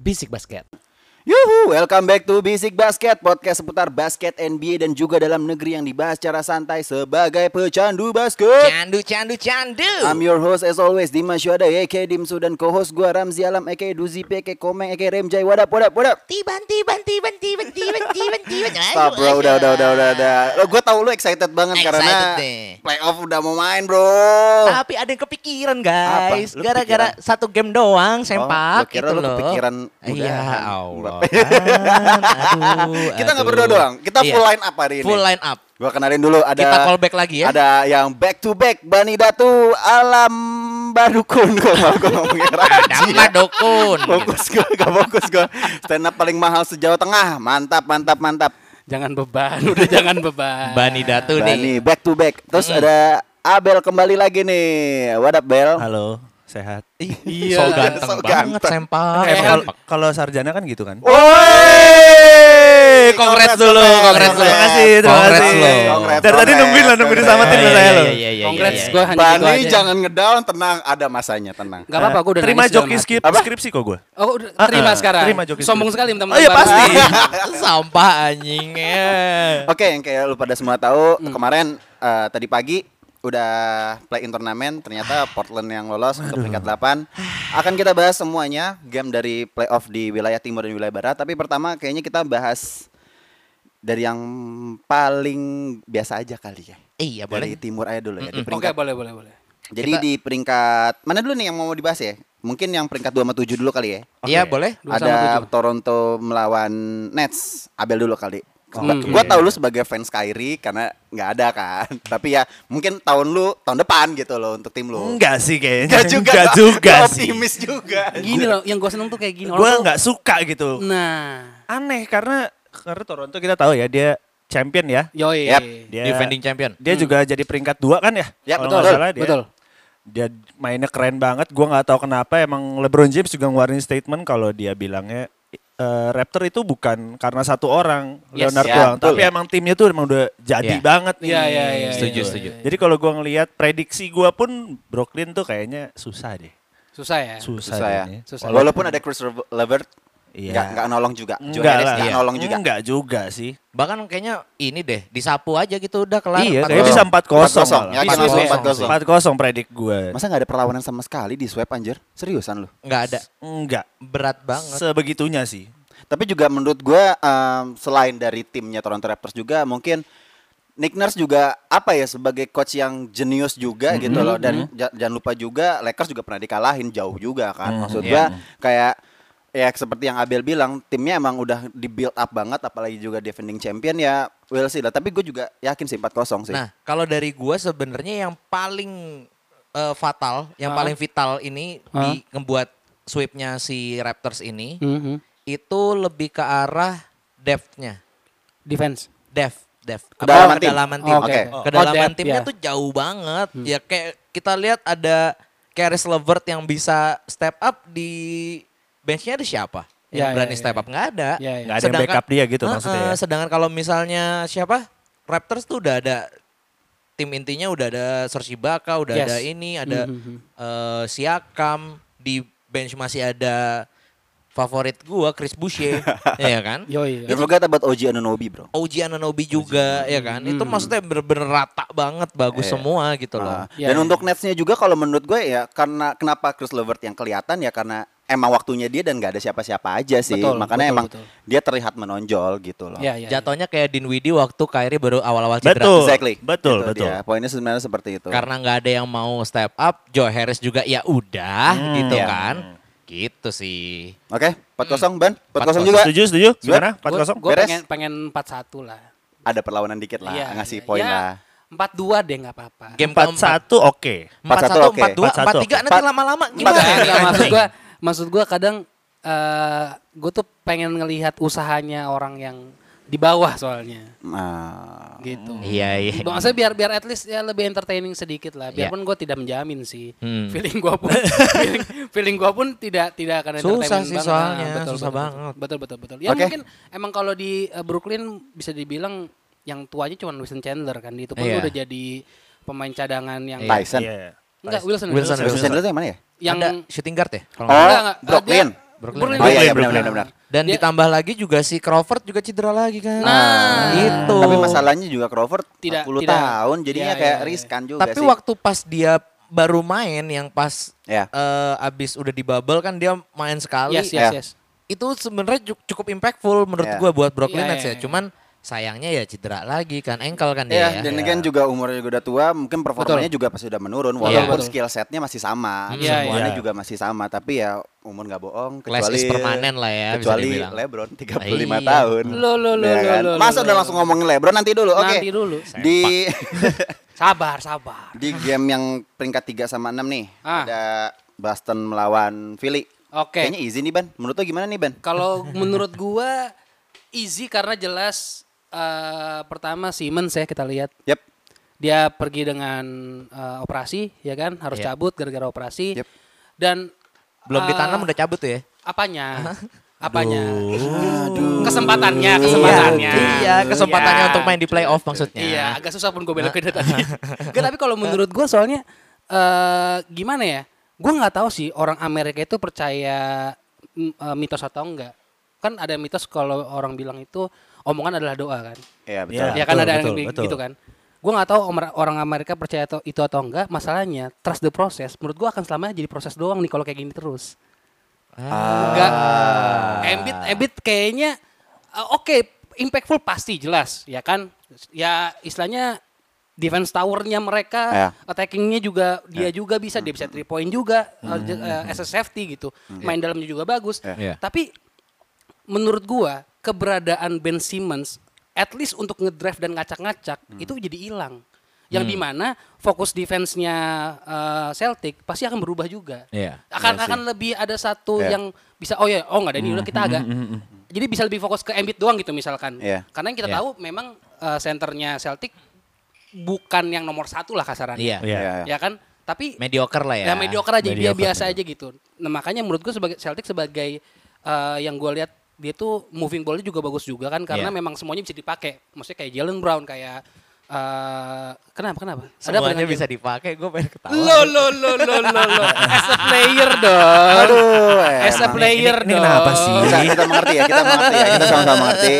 Bisik Basket. Yuhu, welcome back to Basic Basket, podcast seputar basket NBA dan juga dalam negeri yang dibahas secara santai sebagai pecandu basket. Candu, candu, candu. I'm your host as always, Dimas Syuada, aka Dimsu dan co-host gua Ramzi Alam, aka Duzi P, aka Komeng, aka Remjai, wadap, wadap, wadap. Tiban, tiban, tiban, tiban, tiban, tiban, tiban. Stop bro, udah, udah, udah, udah, udah. Lo, gua tau lu excited banget Excited karena nih. playoff udah mau main bro. Tapi ada yang kepikiran guys, Apa? Lu gara-gara satu game doang sempak Oh, gua kira gitu lu loh. kepikiran Iya, udahan. Allah. Kan. Aduh, Kita nggak aduh. berdua doang, kita Iya. full line up hari ini. Full line up. Gua kenalin dulu ada Kita call back lagi ya. Ada yang back to back Bani Datu Alam Badukun Gua nggak gua ngomongin Ramji Dama ya. Dokun. Fokus gua gak fokus gua Stand up paling mahal sejauh tengah Mantap mantap mantap Jangan beban, udah jangan beban. Bani Datu nih. Bani Nah, back to back Terus ada Abel kembali lagi nih What up Bel Halo, sehat. Ih, Iya, so ganteng so banget ganteng. sempak. Eh, Sempak. kalau- kalau sarjana kan gitu kan? Woi, Kongres dulu, kongres dulu. Terima kasih, terima Kongres kasih. lo. Kongres, Dari tadi kongres, nungguin lah, nungguin Iya, kongres. disamatin lah iya, saya lo. Congrats, gue gue hanya gitu Bani aja. jangan ngedown, tenang, ada masanya, tenang. Gak apa-apa, gue udah Terima nangis dalam joki hati. skip Apa? skripsi kok gue. Oh, udah, terima Ah, ah, sekarang. terima joki Sombong skip. sekali teman-teman. Oh iya, Bani. pasti. Sampah ya. anjingnya. Oke, yang kayak lu pada semua tahu Hmm. kemarin eh, tadi pagi udah play in turnamen ternyata Portland yang lolos ke peringkat 8. Akan kita bahas semuanya game dari playoff di wilayah timur dan wilayah barat, tapi pertama kayaknya kita bahas dari yang paling biasa aja kali ya. Iya Dari boleh. timur aja dulu ya. di Oke, peringkat- boleh, boleh, boleh. Jadi Kita- di peringkat mana dulu nih yang mau dibahas ya? Mungkin yang peringkat 2 sama 7 dulu kali ya. Iya boleh. Dua sama ada tujuh. Toronto melawan Nets. Abel dulu kali. Oh, Oke. Gue tau lu sebagai fans Kyrie karena nggak ada kan. Tapi ya mungkin tahun lu tahun depan gitu loh untuk tim lu. Enggak sih kayaknya. Nggak juga. Enggak gua- juga gua sih. Optimis juga. Gini loh, yang gue seneng tuh kayak gini. Gue Orang tuh- enggak suka gitu. Nah, Aneh karena karena Toronto kita tahu ya dia champion ya. yoi. Yap. Dia Defending champion. Dia juga jadi peringkat dua kan ya? Ya, Kalau betul, nggak salah dia. Betul. Dia mainnya keren banget. Gue nggak tahu kenapa emang LeBron James juga ngeluarin statement kalau dia bilangnya eh, Raptor itu bukan karena satu orang Yes. Leonard Ya, doang, betul. tapi emang timnya tuh emang udah jadi Ya. banget nih. Gitu. Iya, iya, iya. Setuju, iya, setuju. iya. Jadi kalau gue ngelihat prediksi gue pun Brooklyn tuh kayaknya susah deh. Susah ya. Susah, Susah ya. deh ini. Susah. Walaupun ada Chris Levert, Iya. nggak nggak nolong juga. Joe Enggak Harris lah. nggak Iya. nolong juga. Enggak juga sih. Bahkan kayaknya ini deh disapu aja gitu udah kelar. iya, Empat kayaknya kosong. bisa 4-0. 4-0. malah. Ya, Bisa, 4-0, bisa. 4-0. 4-0 predik gue. Masa nggak ada perlawanan sama sekali di sweep anjir? Seriusan lu? Nggak ada Enggak. berat banget. Sebegitunya sih. Tapi juga menurut gua em, selain dari timnya Toronto Raptors juga mungkin Nick Nurse juga apa ya sebagai coach yang jenius juga gitu loh dan ja- jangan lupa juga Lakers juga pernah dikalahin jauh juga kan maksud gua kayak ya seperti yang Abel bilang timnya emang udah di build up banget apalagi juga defending champion ya we'll see lah tapi gue juga yakin sih 4-0 sih. Nah kalau dari gua sebenarnya yang paling eh, fatal, yang Hah? paling vital ini Hah? di ngebuat sweepnya si Raptors ini Mhm. Mm-hmm. itu lebih ke arah depthnya, Defense. depth, depth. Kedalaman Apa, tim. kedalaman tim. Oke. Hmm. Oke. Oh, Kedalaman depth, timnya ya. tuh jauh banget. Ya kayak kita lihat ada Karis Levert yang bisa step up di benchnya ada siapa? Yang Ya, ya, berani ya, step ya. up nggak ada. Ya, ya. Nggak ada yang backup dia gitu Heeh, maksudnya ya. Sedangkan kalau misalnya siapa? Raptors tuh udah ada tim intinya udah ada Serge Ibaka, udah Yes. ada ini, ada Mhm. eh, Siakam di bench masih ada favorit gua Chris Boucher, ya kan? Yoi. Don't forget about OG Anunoby bro. OG Ananobi juga ya kan. Itu maksudnya bener-bener rata banget bagus Hmm. Iya. semua gitu Ah, loh. Ya, Dan ya. untuk Netsnya juga kalau menurut gue ya karena kenapa Chris Levert yang kelihatan ya karena emang waktunya dia dan nggak ada siapa-siapa aja sih. Betul, Makanya betul, emang betul. dia terlihat menonjol gitu loh. Ya, ya. ya. Jatuhnya kayak Dinwiddie waktu Kyrie baru awal-awal cedera. Betul. Exactly. Betul, Itu betul. dia. Poinnya sebenarnya seperti itu. Karena nggak ada yang mau step up, Joe Harris juga ya udah gitu iya. kan. Gitu sih. Oke, 4-0 Ban. 4-0. 4-0 juga. Setuju, setuju? Gimana? Gue 4-0? Beres. pengen, pengen 4-1 lah. Ada perlawanan dikit lah, Iya, iya. ngasih poin Ya, lah. 4-2 deh nggak apa-apa. Game keempat. 4-1 oke. 4-1, oke. 4-1, 4-2, 4-3 4-1, nanti Empat- Iya, lama-lama Enggak, gimana? enggak, nih? maksud gua maksud gua kadang eh gua tuh pengen ngelihat usahanya orang yang di bawah soalnya Nah, gitu. Iya, iya. Di bawah. Maksudnya biar biar at least ya lebih entertaining sedikit lah. Iya. Biarpun gua tidak menjamin sih. Hmm. Feeling gua pun feeling, feeling gua pun tidak tidak akan Susah entertaining sih banget. soalnya, Ah, susah banget. Betul betul betul. Ya Oke. mungkin emang kalau di eh, Brooklyn bisa dibilang yang tuanya cuma Wilson Chandler kan. Itu pun Iya. udah jadi pemain cadangan yang Iya. Tyson. Iya. enggak Wilson Wilson, Wilson dulu tuh yang mana ya? Yang yang shooting guard ya? Kalau Oh, Enggak, enggak. Brooklyn. Dia- Brooklyn. Brooklyn. Oh iya, iya Brooklyn, benar benar. benar. Dan Dia- ditambah lagi juga si Crawford juga cedera lagi kan. gitu. Nah. itu. Tapi masalahnya juga Crawford Tidak- 40 tidak. tahun jadinya Iya, kayak iya, iya. riskan juga Tapi sih. waktu pas dia baru main yang pas Ya. eh, abis udah di bubble kan dia main sekali. Yes, yes, Ya. yes. Itu sebenarnya ju- cukup impactful menurut Ya. gua buat Brooklyn Iya, Nets iya, ya. iya. Cuman sayangnya ya cedera lagi kan ankle kan dia. Iya, ya. dan again juga umurnya juga udah tua, mungkin performanya juga pasti udah menurun. Iya, Walaupun betul. skill setnya masih sama, Hmm, Iya, semuanya iya. juga masih sama. Tapi ya umur nggak bohong. Class Kecuali is permanen lah ya, bisa Kecuali dibilang. LeBron 35 Iya. tahun. Lo, lo, lo, lo, Ya kan? lo, Masa lo, udah lo. langsung ngomongin LeBron nanti dulu. Oke. Nanti dulu. Di Sabar, sabar. di game yang peringkat 3 sama 6 nih Ah. ada Boston melawan Philly. Oke. Kayaknya easy nih Ban. Menurut lo gimana nih Ban? Kalau menurut gua easy karena jelas eh, pertama Siemens ya kita lihat Yap. dia pergi dengan eh, operasi ya kan harus Iya. cabut gara-gara operasi Yep. dan Belum eh, ditanam udah cabut tuh ya. apanya apanya kesempatannya kesempatannya Iya, iya, kesempatannya Iya. untuk main di playoff maksudnya. Iya, agak susah pun gue beloknya dari tadi. Gak, tapi kalau menurut gue soalnya eh gimana ya? Gue nggak tahu sih orang Amerika itu percaya mm, eh, mitos atau enggak. Kan ada mitos kalau orang bilang itu omongan adalah doa kan. Iya betul. Iya. ya kan betul, ada yang betul, bi- betul. gitu kan. Gue nggak tahu omer- orang Amerika percaya atau itu atau enggak. Masalahnya trust the process. Menurut gue akan selamanya jadi proses doang nih kalau kayak gini terus. Ah. Enggak. Embiid Embiid kayaknya uh, oke impactful pasti jelas ya kan. Ya istilahnya defense towernya Ya. mereka, attackingnya juga Ya. dia juga bisa, dia bisa three point juga uh, Hmm. j- uh, as a safety gitu. Main dalamnya juga bagus. Ya. Tapi menurut gua keberadaan Ben Simmons at least untuk ngedrive dan ngacak-ngacak itu jadi hilang. Yang dimana fokus defense-nya uh, Celtic pasti akan berubah juga. Iya. Akan akan lebih ada satu Iya. yang bisa oh ya oh nggak ada ini udah kita agak jadi bisa lebih fokus ke Embiid doang gitu misalkan. Iya. Karena yang kita Iya. tahu memang uh, senternya Celtic bukan yang nomor satu lah Iya. kasarannya. Iya. Ya kan? Tapi Mediocre lah ya. ya mediocre aja dia Mediocre. biasa aja gitu. Nah makanya menurut gue sebagai Celtic sebagai eh, yang gue lihat dia tuh moving ballnya juga bagus juga kan karena Iya. memang semuanya bisa dipakai. Maksudnya kayak Jalen Brown kayak eh, kenapa kenapa? apa Semuanya dengan bisa Jalen- dipakai, gue pengen ketawa. Lo lo lo lo lo lo as a player dong. Aduh, as a emang. player Ini- ini dong. kenapa sih? Kita, kita mengerti ya, kita mengerti ya, kita sama-sama mengerti.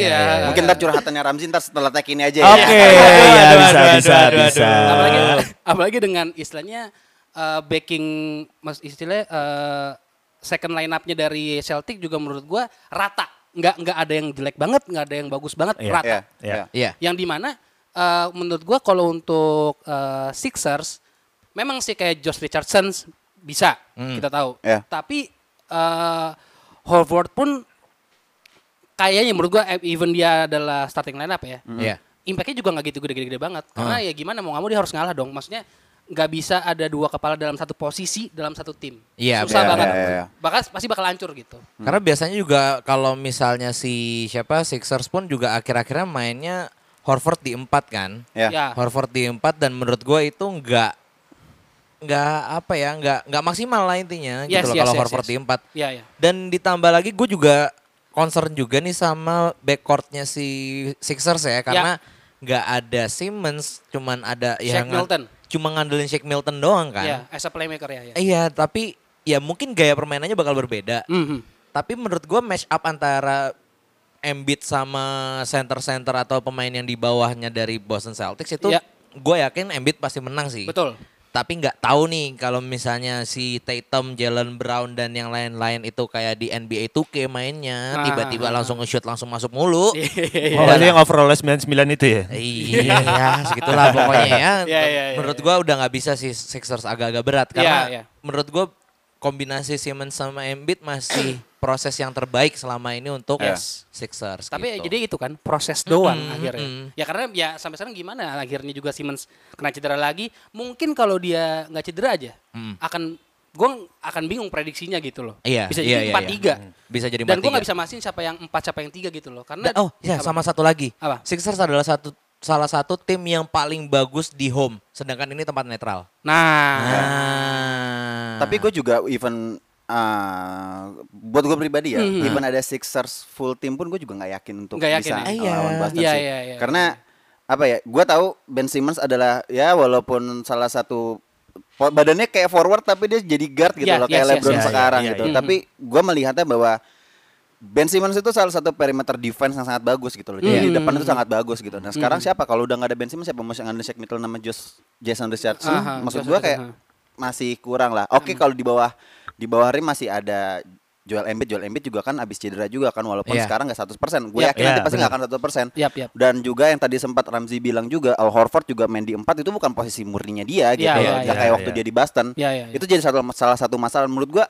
Iya. Mungkin ntar curhatannya Ramzi ntar setelah tag ini aja ya. Oke, ya bisa bisa bisa. apalagi Iya. apalagi dengan istilahnya eh, backing mas istilahnya eh, second line up-nya dari Celtic juga menurut gua rata nggak nggak ada yang jelek banget nggak ada yang bagus banget Iya. rata Iya, Ya. iya. Iya. yang dimana eh, menurut gua kalau untuk eh, Sixers memang sih kayak Josh Richardson bisa Hmm. kita tahu Iya. tapi eh, Horford pun kayaknya menurut gua eh, even dia adalah starting lineup ya Iya. Hmm. impactnya juga nggak gitu gede-gede banget karena ya gimana mau nggak mau dia harus ngalah dong maksudnya nggak bisa ada dua kepala dalam satu posisi dalam satu tim Iya, susah iya, banget iya, iya. bakal pasti bakal hancur gitu Hmm. Karena biasanya juga kalau misalnya si siapa Sixers pun juga akhir-akhirnya mainnya Horford di empat kan. Ya. Ya. Horford di empat dan menurut gue itu nggak nggak apa ya nggak nggak maksimal lah intinya Yes, gitu loh yes, kalau yes, Horford yes. di empat. Iya, iya. Dan ditambah lagi gue juga concern juga nih sama backcourtnya si Sixers ya karena nggak ada Simmons cuman ada Shaq ngan- Milton. cuma ngandelin Shaq Milton doang kan. ya as a playmaker ya, ya. Iya, tapi ya mungkin gaya permainannya bakal berbeda. Mhm. Tapi menurut gue match up antara Embiid sama center-center atau pemain yang di bawahnya dari Boston Celtics itu Iya. gue yakin Embiid pasti menang sih. betul Tapi nggak tahu nih kalau misalnya si Tatum, Jalen Brown dan yang lain-lain itu kayak di NBA 2K mainnya Ah. tiba-tiba langsung nge-shoot langsung masuk mulu. Iya, Oh, berarti yang overall 99 itu ya? Iya, segitulah pokoknya ya. Iya, iya, iya, menurut iya. gua udah nggak bisa sih Sixers agak-agak berat karena Iya, iya. menurut gua kombinasi Simmons sama Embiid masih proses yang terbaik selama ini untuk Yes. Sixers. Iya. tapi ya gitu. jadi itu kan proses doang Mm-mm, akhirnya mm-mm. ya karena ya sampai sekarang gimana akhirnya juga Simmons kena cedera lagi mungkin kalau dia nggak cedera aja akan gue akan bingung prediksinya gitu loh Iya, bisa iya, jadi iya, empat iya. tiga Hmm. Bisa jadi dan gue 4-3. nggak bisa mastiin siapa yang empat siapa yang tiga gitu loh karena Da- oh ya Apa? sama satu lagi. Apa? Sixers adalah satu salah satu tim yang paling bagus di home, sedangkan ini tempat netral. Nah, Ah. Tapi gue juga even eh, buat gue pribadi ya, even ada Sixers full team pun gue juga nggak yakin untuk Mm-hmm. Nggak bisa yakin ya? Iya. lawan Boston Iya, sih. iya, iya. Karena apa ya? Gue tahu Ben Simmons adalah ya walaupun salah satu po- badannya kayak forward tapi dia jadi guard gitu Ya, loh kayak yes, iya, yes, LeBron yes. sekarang Ya, ya, gitu. ya. Tapi gua melihatnya bahwa Ben Simmons itu salah satu perimeter defense yang sangat bagus gitu loh. Jadi Mm-hmm. di depan itu sangat bagus gitu. Nah, sekarang siapa kalau udah nggak ada Ben Simmons siapa masih ada Shaq Mitchell nama Josh, Jason Richardson? Aha, Maksud Josh gua Richardson, kayak masih kurang lah. Oke, Hmm. kalau di bawah di bawah rim masih ada Joel Embiid, Joel Embiid juga kan abis cedera juga kan walaupun Iya. sekarang nggak 100%. Gue Yap. yakin nanti Iya, pasti nggak akan 100%. Yap, yap. Dan juga yang tadi sempat Ramzi bilang juga Al Horford juga main di 4 itu bukan posisi murninya dia gitu. Iya, loh. iya, Nggak iya, kayak iya. waktu dia di Boston. Iya, iya, iya. Itu jadi satu salah satu masalah menurut gua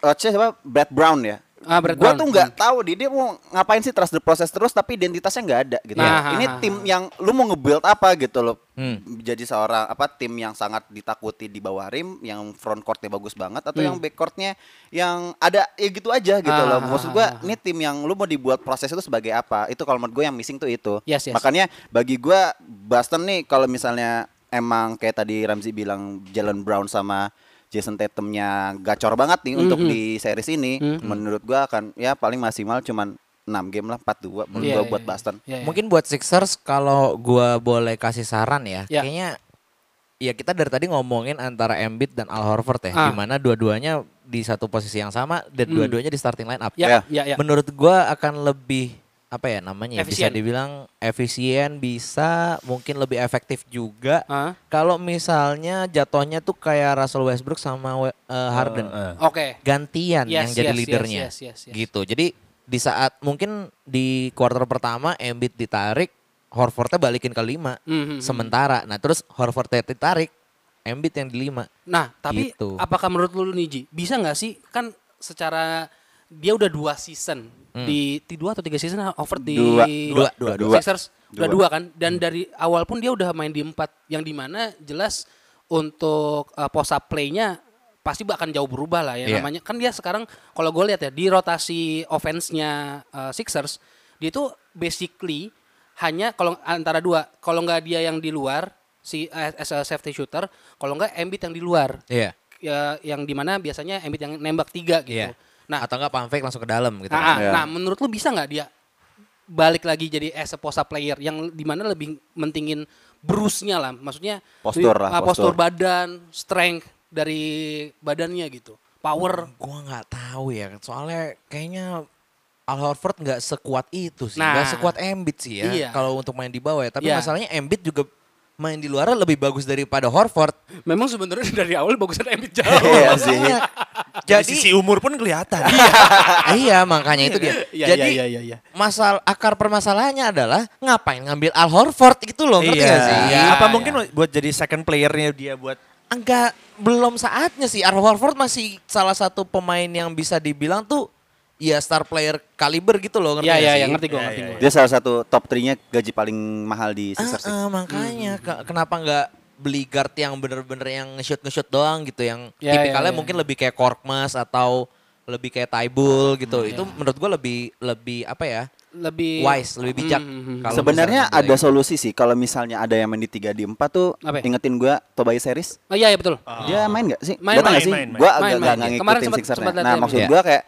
coachnya siapa? Brad Brown ya. Ah, Brad gua Brown. tuh nggak tahu dia, dia mau ngapain sih trust the process terus tapi identitasnya nggak ada gitu. Nah, Ini ah, ah, tim yang lu mau nge-build apa gitu loh. Hmm. Jadi seorang apa tim yang sangat ditakuti di bawah rim, yang front courtnya bagus banget atau yang back courtnya yang ada ya gitu aja gitu Hmm. Ah, ah, loh. Maksud ah, gua ah. ini tim yang lu mau dibuat proses itu sebagai apa? Itu kalau menurut gue yang missing tuh itu. Yes, yes. Makanya bagi gua Boston nih kalau misalnya emang kayak tadi Ramzi bilang Jalen Brown sama Jason Tatumnya gacor banget nih untuk Mhm. di series ini. Menurut gua akan ya paling maksimal cuman 6 game lah 4-2 menurut Iya, gua iya, buat iya. Boston. Iya, iya. Mungkin buat Sixers kalau gua boleh kasih saran ya, Ya. kayaknya ya kita dari tadi ngomongin antara Embiid dan Al Horford ya, Ah. Hmm. dimana dua-duanya di satu posisi yang sama dan dua-duanya di starting line up. Ya, Ya. ya, ya. Menurut gua akan lebih apa ya namanya? ya, Efisien. Bisa dibilang efisien, bisa mungkin lebih efektif juga. Ah. Kalau misalnya jatuhnya tuh kayak Russell Westbrook sama we- eh, Harden Oke. gantian Yes, yang yes, jadi yes, leadernya. yes, yes, yes. Gitu. Jadi di saat mungkin di quarter pertama Embiid ditarik, Horfordnya balikin ke lima Mhm. sementara. Nah terus Horfordnya ditarik, Embiid yang di lima. Nah, tapi Gitu. apakah menurut lu nih Ji, bisa nggak sih kan secara dia udah dua season di, di dua atau tiga season nah, over di Dua. Hmm. Dua, dua, Hmm. dua. Sixers udah dua Dua. kan dan dari awal pun dia udah main di empat yang dimana jelas untuk uh, posa playnya pasti akan jauh berubah lah ya Iya. namanya kan dia sekarang kalau gue lihat ya di rotasi offense-nya uh, Sixers dia itu basically hanya kalau antara dua kalau nggak dia yang di luar si uh, as a safety shooter kalau nggak Embiid yang di luar Iya. ya, yang dimana biasanya Embiid yang nembak tiga gitu. Iya. Nah, Atau enggak pump fake langsung ke dalam gitu. ah, ah, kan. Iya. nah menurut lu bisa nggak dia balik lagi jadi as a posa player yang dimana lebih mentingin bruce-nya lah, maksudnya Postur lebih- lah, ah, postur. postur. badan, strength dari badannya gitu, power. Gua nggak tahu ya. Soalnya kayaknya Al Horford nggak sekuat itu sih. Nah. Nggak sekuat Embiid sih ya. Iya. Kalau untuk main di bawah ya. Tapi Iya. masalahnya Embiid juga main di luar lebih bagus daripada Horford. Memang sebenarnya dari awal bagusan Embiid jauh. Iya sih. Makanya, Jadi Jadi sisi umur pun kelihatan. iya makanya itu dia. Iya, Jadi iya, iya, iya. masal akar permasalahannya adalah ngapain ngambil Al Horford gitu loh ngerti nggak sih? Iya. Apa Iya. mungkin buat jadi second playernya dia buat Enggak belum saatnya sih Al Horford masih salah satu pemain yang bisa dibilang tuh ya star player kaliber gitu loh ngerti Iya, nggak iya, sih? iya, ngerti gue, Iya, ngerti iya, gue. Dia salah satu top 3-nya gaji paling mahal di Ah, Sixers. sih. ah, makanya Hmm. ke- kenapa nggak beli guard yang bener-bener yang nge-shoot nge-shoot doang gitu yang Ya, tipikalnya ya, ya. mungkin lebih kayak Korkmas atau lebih kayak Hmm, Taibul gitu. iya. Itu menurut gue lebih lebih apa ya? Lebih Wise, lebih bijak. Mm, mm, mm. kalau Sebenarnya misalnya ada boleh. solusi sih kalau misalnya ada yang main di 3 di 4 tuh Apa ya? ingetin gua Tobias Harris. Oh, iya, iya betul. Dia main gak sih? Main, Datang main, nggak sih? main, main. Gua Main, agak nggak main. ngikutin Kemarin sempat- Sixers-nya. sempat liat Nah dia maksud main. gua kayak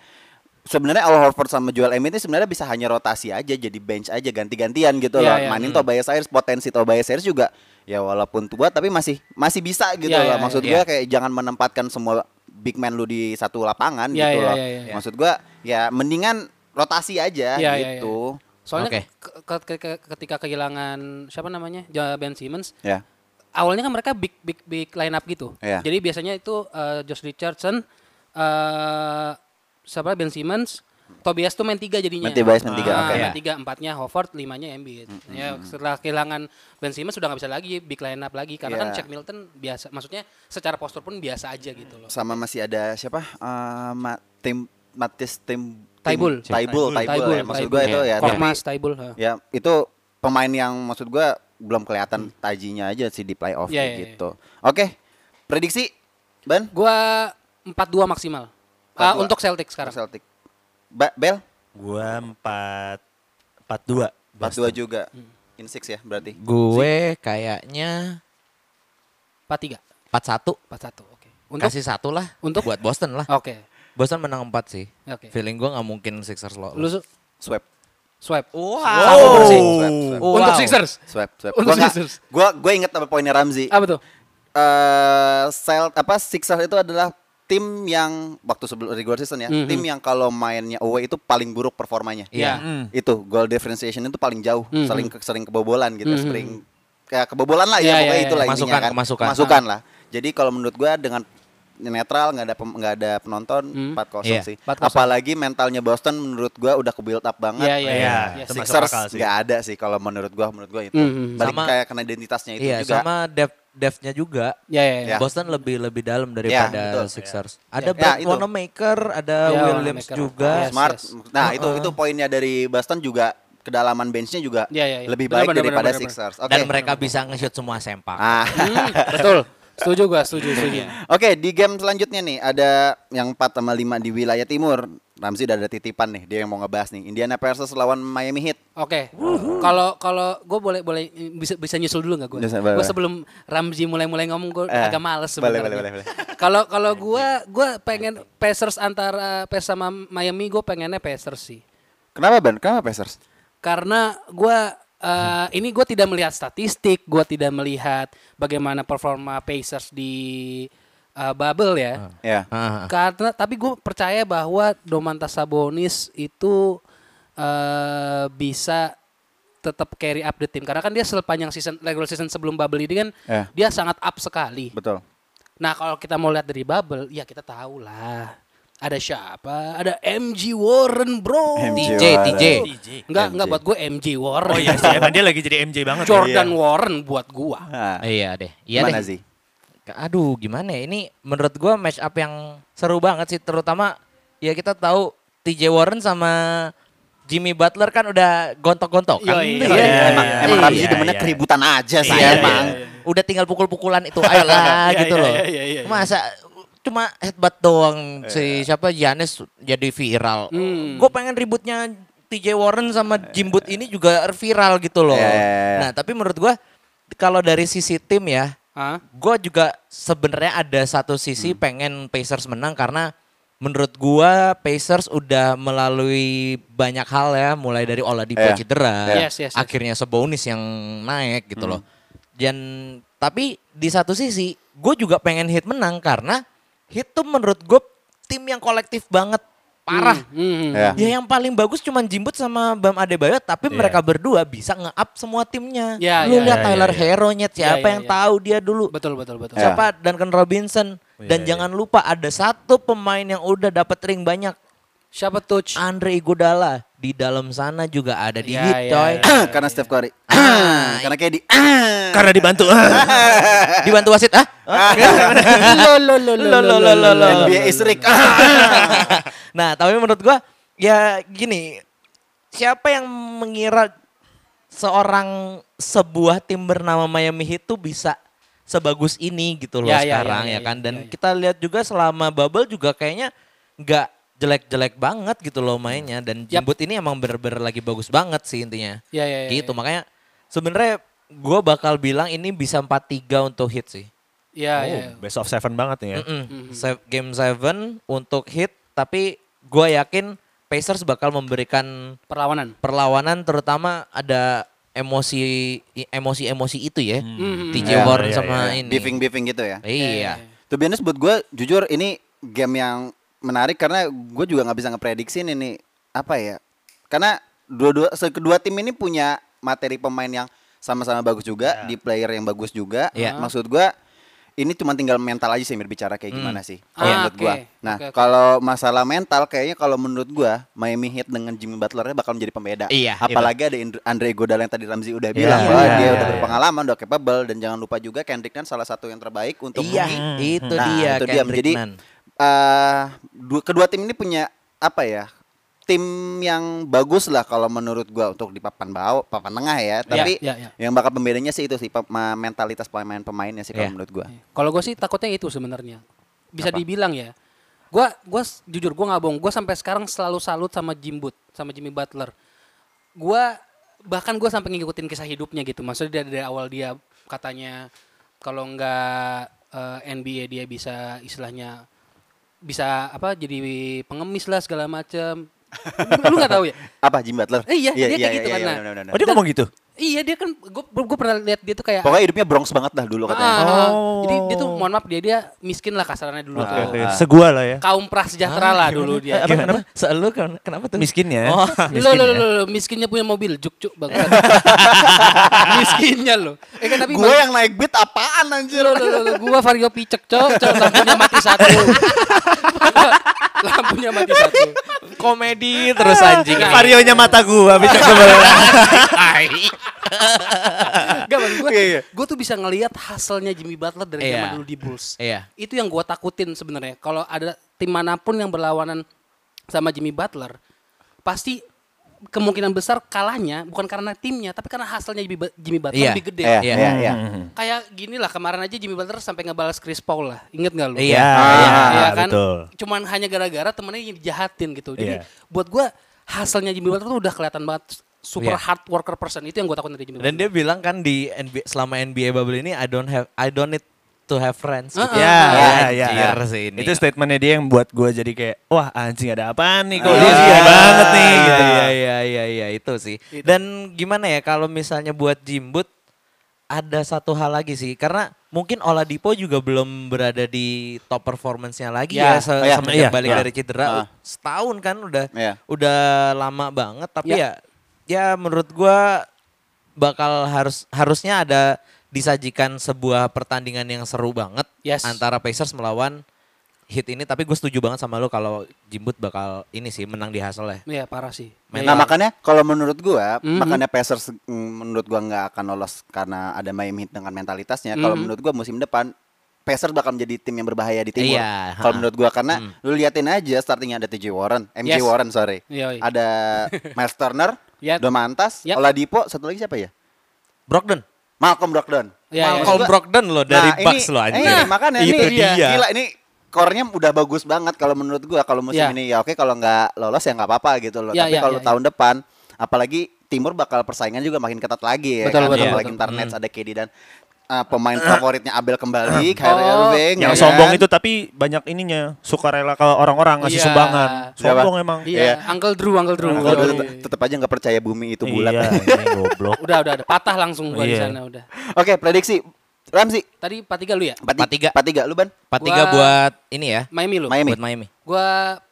sebenarnya Al Horford sama Joel Embiid ini sebenarnya bisa hanya rotasi aja jadi bench aja ganti-gantian gitu Iya, loh. iya. Mainin Tobias Harris potensi Tobias Harris juga ya walaupun tua tapi masih masih bisa gitu Iya, loh. iya, Maksud iya. gua kayak jangan menempatkan semua big man lu di satu lapangan Iya, gitu iya, loh. iya, iya. Maksud gua ya mendingan rotasi aja Iya, iya, iya. gitu. Soalnya Oke. ke- ke- ke- ketika kehilangan siapa namanya? Ja- Ben Simmons, Ya. awalnya kan mereka big big big line up gitu. Iya. Jadi biasanya itu eh, Josh Richardson, eh siapa Ben Simmons, Tobias tuh main tiga jadinya. Main Tobias main tiga, Ah, oke. main tiga, empatnya Howard, limanya Embiid. Ya setelah kehilangan Ben Simmons sudah nggak bisa lagi big line up lagi karena kan Iya. Shaq Milton biasa, maksudnya secara postur pun biasa aja gitu loh. sama masih ada siapa Eh, Ma- tim Matis tim Taibul. tim- Taibul Taibul, ya. maksud gue itu ya tapi Korkmaz, Taibul. ha. ya itu pemain yang maksud gue belum kelihatan tajinya aja sih di playoff Iya, iya, iya. gitu oke prediksi ban Gua 4-2 maksimal. Ah, 4-2. untuk Celtic sekarang. Celtic ba Bel gua 4 4 2. 4-2 juga in six ya berarti gue kayaknya 4-3, 4-1 4-1. Oke. Untuk kasih satu lah untuk? buat Boston lah. Oke. Boston menang 4 sih. Oke. Feeling gue nggak mungkin Sixers lo. Lu su- swap swipe. Wow. Swap, swap, swap. Wow. Untuk Sixers. swap swap Untuk gue Sixers. gue inget sama poinnya Ramzi Apa tuh? eh Celt- apa Sixers itu adalah tim yang waktu sebelum regular season ya, tim yang kalau mainnya away itu paling buruk performanya. Mm-hmm. Iya. Mm-hmm. Itu goal differentiation itu paling jauh, Mhm. sering ke- sering kebobolan gitu, sering kayak kebobolan lah ya, Iya, pokoknya iya, itulah iya. intinya Masukan, Mm. kan. kemasukan. Masukan lah. Jadi kalau menurut gua dengan netral nggak ada pem- nggak ada penonton Hmm. 4-0 Iya, sih. 4-0. Apalagi mentalnya Boston menurut gua udah ke build up banget. Iya, iya, iya. Iya. Yes. Itu masuk Sixers akal sih. nggak ada sih kalau menurut gua menurut gua itu. Mhm. Balik Mm-hmm. Sama- kayak kena identitasnya itu Iya, juga. sama Iya. depth depthnya juga. Ya, ya, ya. Ya. Boston lebih lebih dalam daripada betul. Sixers. Ada Ya, Brad itu. Iya, Wanamaker, Iya. ada Ya, Williams Wanamaker. juga. Yes. Smart. yes. Nah, itu itu poinnya dari Boston juga kedalaman benchnya juga Iya, iya, iya. lebih Benar, baik benar, daripada benar, benar. Sixers. Oke. Dan mereka bisa nge-shoot semua sempak. Ah. Hmm, betul. Setuju gua, setuju, setuju. Oke, di game selanjutnya nih ada yang 4 sama 5 di wilayah timur. Ramzi udah ada titipan nih, dia yang mau ngebahas nih. Indiana Pacers lawan Miami Heat. Oke. Kalau kalau gue boleh boleh bisa bisa nyusul dulu nggak gue? Bisa, Gue boleh, boleh. sebelum Ramzi mulai-mulai ngomong gue Eh, agak males boleh, sebenarnya. boleh, boleh, boleh. Kalau kalau gue gue pengen Pacers antara Pacers sama Miami gue pengennya Pacers sih. Kenapa Ban? Kenapa Pacers? Karena gue eh, ini gue tidak melihat statistik, gue tidak melihat bagaimana performa Pacers di eh, bubble ya. Ya. Ah. Karena tapi gue percaya bahwa Domantas Sabonis itu eh, bisa tetap carry up the team karena kan dia sepanjang season regular season sebelum bubble ini kan Eh. dia sangat up sekali. Betul. Nah kalau kita mau lihat dari bubble ya kita tahu lah ada siapa ada MG Warren bro. MJ TJ, TJ. Enggak MJ. enggak buat gue MG Warren. Oh iya sih, emang dia lagi jadi MJ banget. ya. Jordan Warren buat gua. Ah. Iya deh. Iya Gimana deh. sih? Aduh, gimana ya? Ini menurut gua match up yang seru banget sih, terutama ya kita tahu TJ Warren sama Jimmy Butler kan udah gontok-gontok kan. Yoi, Iya, iya, emang iya, emang iya, Ramzi iya, demennya iya. keributan aja sih Iya, emang. iya, Udah tinggal pukul-pukulan itu ayolah Iya, gitu iya, loh. iya, iya, iya. Masa cuma headbutt doang si siapa Giannis jadi viral. Hmm. Gue pengen ributnya TJ Warren sama Jimbut ini juga viral gitu loh. Iya, iya, iya. Nah, tapi menurut gua kalau dari sisi tim ya, Hah? gue juga sebenarnya ada satu sisi pengen Pacers menang karena menurut gua Pacers udah melalui banyak hal ya mulai dari Oladipo Iya. cedera, Iya. Yes, yes, yes. akhirnya Sabonis yang naik gitu loh. Dan tapi di satu sisi gue juga pengen Heat menang karena Heat tuh menurut gue tim yang kolektif banget parah. Hmm. Ya. Ya yang paling bagus cuman Jimbut sama Bam Adebayo tapi Iya. mereka berdua bisa nge-up semua timnya. Ya, Lu ya, lihat ya, Tyler ya, ya. Hero-nya siapa ya, yang ya. tahu dia dulu. Betul betul betul. Ya. Siapa Duncan Robinson dan Iya, jangan lupa ada satu pemain yang udah dapat ring banyak Siapa touch? Andre Iguodala di dalam sana juga ada di Iya, Heat iya, coy. iya. Karena Steph Curry. Ah, Karena KD. Ah. Karena dibantu. Ah. Dibantu wasit ah? lo lo lo Lo, lo, lo, lo, lo. NBA is rigged. Ah. nah tapi menurut gua ya gini siapa yang mengira seorang sebuah tim bernama Miami Heat tuh bisa sebagus ini gitu loh Ya, ya, sekarang ya, ya, ya, kan ya, dan ya, ya. kita lihat juga selama bubble juga kayaknya nggak jelek-jelek banget gitu loh mainnya dan Yap. Jimbut ini emang bener-bener lagi bagus banget sih intinya Ya, ya, ya, gitu ya. makanya sebenarnya gua bakal bilang ini bisa 4-3 untuk Heat sih Ya, ya. Oh, best of seven banget nih ya. Mm-mm. Se- Game 7 untuk hit, tapi gue yakin Pacers bakal memberikan Perlawanan. perlawanan terutama ada emosi i- emosi-emosi itu ya. TJ Iya, Warren iya, sama Nah, ini. Beefing-beefing gitu ya. Iya. To be honest buat gue jujur ini game yang menarik karena gue juga nggak bisa ngeprediksi ini nih apa ya karena dua-dua se- kedua tim ini punya materi pemain yang sama-sama bagus juga di player yang bagus juga Iya. maksud gue ini cuma tinggal mental aja sih berbicara kayak gimana sih kalau Ah, menurut oke. gue nah Oke, oke. kalau masalah mental kayaknya kalau menurut gue Miami Heat dengan Jimmy Butlernya bakal menjadi pembeda Iya, apalagi ada Ind- Andre Iguodala yang tadi Ramzi udah bilang bahwa iya, dia iya, udah iya. berpengalaman udah capable dan jangan lupa juga Kendrick Nunn salah satu yang terbaik untuk Iya, rookie. itu Nah, dia itu dia. Kendrick Jadi Nunn. eh, dua, kedua tim ini punya apa ya? Tim yang bagus lah kalau menurut gua untuk di papan bawah, papan tengah ya. Tapi ya, ya. yang bakal pembedanya sih itu sih pe- ma- mentalitas pemain-pemainnya sih kalau Iya. menurut gua. Kalau gue sih takutnya itu sebenarnya. Bisa Apa? dibilang ya. Gue gua s- jujur gue nggak bohong. Gue sampai sekarang selalu salut sama Jim Boot, sama Jimmy Butler. Gue bahkan gue sampai ngikutin kisah hidupnya gitu. Maksudnya dari, dari awal dia katanya kalau nggak eh, NBA dia bisa istilahnya bisa apa jadi pengemis lah segala macam. lu lu nggak tahu ya? Apa Jim Butler? Eh, iya, dia kayak gitu kan, nah. benar, benar, benar. Oh dia ngomong gitu? Iya dia kan gue gue pernah lihat dia tuh kayak Pokoknya hidupnya Bronx banget dah dulu katanya. Ah, Oh. Jadi dia tuh mohon maaf dia dia miskin lah kasarannya dulu Oke, tuh. oke. Segua lah ya. Kaum prasejahtera lah dulu Eh, dia. apa, Gimana? kenapa? Se- lu ken- kenapa tuh? Miskin ya. Oh. Lo lo lo lo miskinnya punya mobil juk juk bang. miskinnya lo. Eh kan tapi Gue yang naik beat apaan anjir? lo lo lo gue Vario picek cok cok lampunya mati satu. lampunya mati satu. Komedi terus anjing. Varionya mata gua bisa Gak bang gue Iya, iya. gue tuh bisa ngelihat hasilnya Jimmy Butler dari Iya. zaman dulu di Bulls. Iya. Itu yang gue takutin sebenarnya. Kalau ada tim manapun yang berlawanan sama Jimmy Butler, pasti kemungkinan besar kalahnya bukan karena timnya, tapi karena hasilnya Jimmy, Ba- Jimmy Butler Iya. lebih gede. Iya, Iya. iya, iya. Hmm. Kayak gini lah kemarin aja Jimmy Butler sampai ngebalas Chris Paul lah. Ingat gak lu? Iya, Iya Iya, kan? betul. Cuman hanya gara-gara temennya dijahatin gitu. Jadi Iya. buat gue hasilnya Jimmy Butler tuh udah kelihatan banget super Iya. hard worker person itu yang gue takutin dari Jimmy Butler. Dan dia bilang kan di NBA, selama NBA bubble ini I don't have I don't need to have friends. Heeh. gitu. Ya, Ya, ya, ya. anjir sih ini. Itu statementnya dia yang buat gua jadi kayak, wah anjing ada apaan nih? Kok Iya dia gila banget nih? Gitu. Iya iya iya iya itu sih. Dan gimana ya kalau misalnya buat Jimbut ada satu hal lagi sih karena mungkin Oladipo juga belum berada di top performance-nya lagi ya, Ya, se- iya, semenjak iya, balik iya. dari cedera Ah. setahun kan udah Iya. udah lama banget tapi Iya. ya ya menurut gua bakal harus harusnya ada disajikan sebuah pertandingan yang seru banget Yes. antara Pacers melawan Heat ini tapi gue setuju banget sama lo kalau Jimbut bakal ini sih menang di hustle ya. Iya parah sih. Nah makanya kalau menurut gua, Mhm. makanya Pacers mm, menurut gua nggak akan lolos karena ada Miami Heat dengan mentalitasnya. Kalau Mhm. menurut gua musim depan Pacers bakal menjadi tim yang berbahaya di timur. Iya, Kalau ha. menurut gua karena Hmm. lu liatin aja startingnya ada TJ Warren, MJ Mhm. Yes. Iya, Warren sorry. Yoi. Ada Miles Turner, Yap. Domantas, Yap. Oladipo, satu lagi siapa ya? Brogdon. Malcolm Brogdon. Iya, iya. Malcolm Maksud gua- Brogdon lo Oh, dari ini- Bucks lo anjir. Iya, makanya Itu ini dia. Gila ini core-nya udah bagus banget kalau menurut gua kalau musim Iya. ini ya oke kalau nggak lolos ya nggak apa-apa gitu loh. Iya, Tapi iya, kalau iya, tahun depan apalagi Timur bakal persaingan juga makin ketat lagi ya. Betul, kan? betul, apalagi betul. ntar Nets Hmm. ada KD dan uh, Eh. pemain favoritnya Abel kembali, Oh. Kyrie iya, Irving. Yang ya sombong kan? itu tapi banyak ininya suka rela ke orang-orang ngasih Iya. sumbangan. Siapa? Sombong emang. Iya, Uncle Drew, Uncle Drew. Kalau dulu Yoi. tet- tetap aja nggak percaya bumi itu bulat. Iya, ini goblok. Udah, udah, udah. Patah langsung gua di Iya. sana udah. oke, prediksi Ramzi Tadi 4-3 lu ya? 43 43. 43 lu ban. 43 Gua- buat ini ya. Miami lu. Miami. Buat Miami. Gua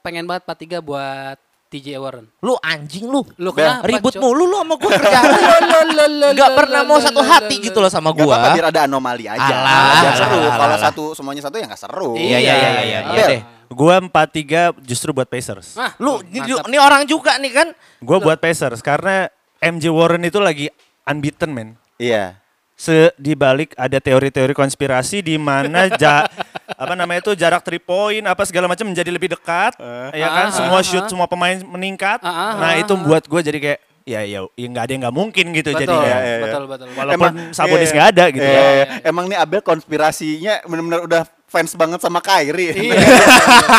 pengen banget 4-3 buat TJ Warren. Lu anjing lu. Lu Bel, kenapa? Ribut Cok? mulu lu sama gue kerja. Lo, lo, lo, Gak lo, pernah lo, mau lo, satu lo, hati lo, gitu lo. loh sama Gak apa-apa gua. biar ada anomali aja. Alah, biar alah, seru. alah, Kalau alah. satu semuanya satu ya nggak seru. Iya iya iya iya iya Bel, deh. Gua 4-3 justru buat Pacers. Ah, Lu ini, mantap. ini orang juga nih kan. Gua buat Pacers karena MJ Warren itu lagi unbeaten, men. Iya. Se di balik ada teori-teori konspirasi di mana ja- apa namanya itu jarak three point apa segala macam menjadi lebih dekat, ya kan? Ah, ah, semua ah. shoot semua pemain meningkat. Ah, ah, nah ah, itu buat gue jadi kayak ya ya ya nggak ada yang nggak mungkin gitu Betul, jadinya. Iya, iya, iya. betul, betul. Walaupun Sabonis iya. nggak ada gitu. Iya, kan. iya. Emang nih Abel konspirasinya benar-benar udah fans banget sama Kyrie. Iya.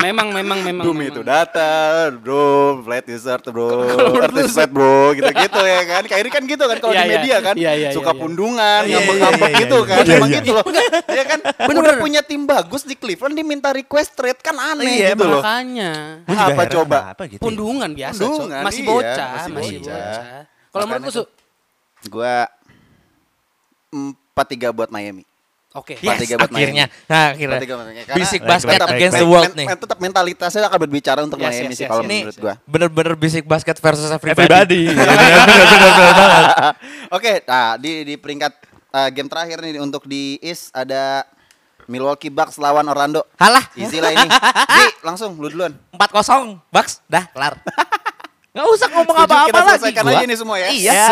Memang, memang, memang. Doom memang. itu data, bro, flat desert, bro, Kalau menurut lu- artis flat, bro, gitu-gitu ya kan. Kyrie kan gitu kan kalau Iya, di iya. media kan, Iya, iya, suka iya, iya. pundungan, Iya, iya, ngambek-ngambek iya, iya, gitu iya. kan. Iya, Emang iya. gitu loh. Ya kan, udah Bener-bener. punya tim bagus di Cleveland diminta request trade kan aneh Iya, gitu loh. Ya, Makanya. Gua juga Apa heran coba? kenapa gitu ya. Pundungan biasa, Cok. Pundungan, Masih iya, bocah, masih masih bocah. bocah. Kalau Makanya menurut lu, Su? tuh. Gua 4-3 buat Miami. Oke. Iya. Yes, 43 buat Miami. akhirnya. Nah, akhirnya. Berarti gua- karena Bisik Baik, basket baik, baik. against men- the world men- nih. men- tetap mentalitasnya akan berbicara untuk Yes, Miami yes, sih yes, kalau yes, menurut yes. gua. Bener-bener bisik basket versus everybody. Everybody. Bener-bener banget. Oke, nah di di peringkat eh, game terakhir nih untuk di East ada Milwaukee Bucks lawan Orlando. Halah. Easy lah ini. Di, langsung lu duluan. 4-0, Bucks, dah kelar. Gak usah ngomong Setuju, apa-apa kita lagi. selesaikan gua. aja nih semua ya. Iya, Ya,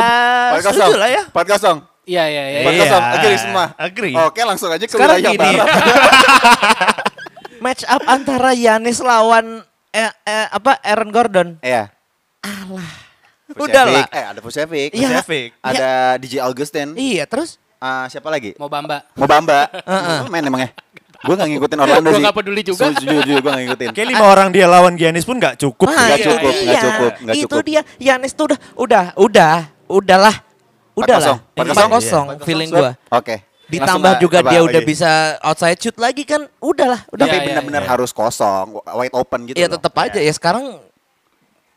setuju lah ya. 4-0. Iya, iya, iya. Iya. 4-0. Agree semua. Agree. Oke, langsung aja ke Sekarang wilayah gini. barat. Match up antara Yanis lawan eh, eh, apa Aaron Gordon. Iya. Alah. Udah lah. Eh, ada Vucevic. Iya. Vucevic. Ada DJ Augustin. Iya, terus Ah, siapa lagi? Mau bamba. Mau Bamba. Lu main emang ya? Gue gak ngikutin Orlando Gua sih. nggak peduli juga. Jujur, jujur gue gak ngikutin. Kayak lima orang dia lawan Giannis pun nggak cukup. Ah. gitu. Nah, Nggak iya, cukup, nggak iya. cukup, nggak Itu cukup. dia, Yanis tuh udah udah udah udahlah. Udahlah. 4-0. Iya, 4-0 feeling gua. Oke. Ditambah juga dia udah bisa bisa outside shoot lagi kan, udahlah, udah. Tapi Iya, iya, benar-benar harus kosong, wide open gitu. Ya loh. tetap aja ya sekarang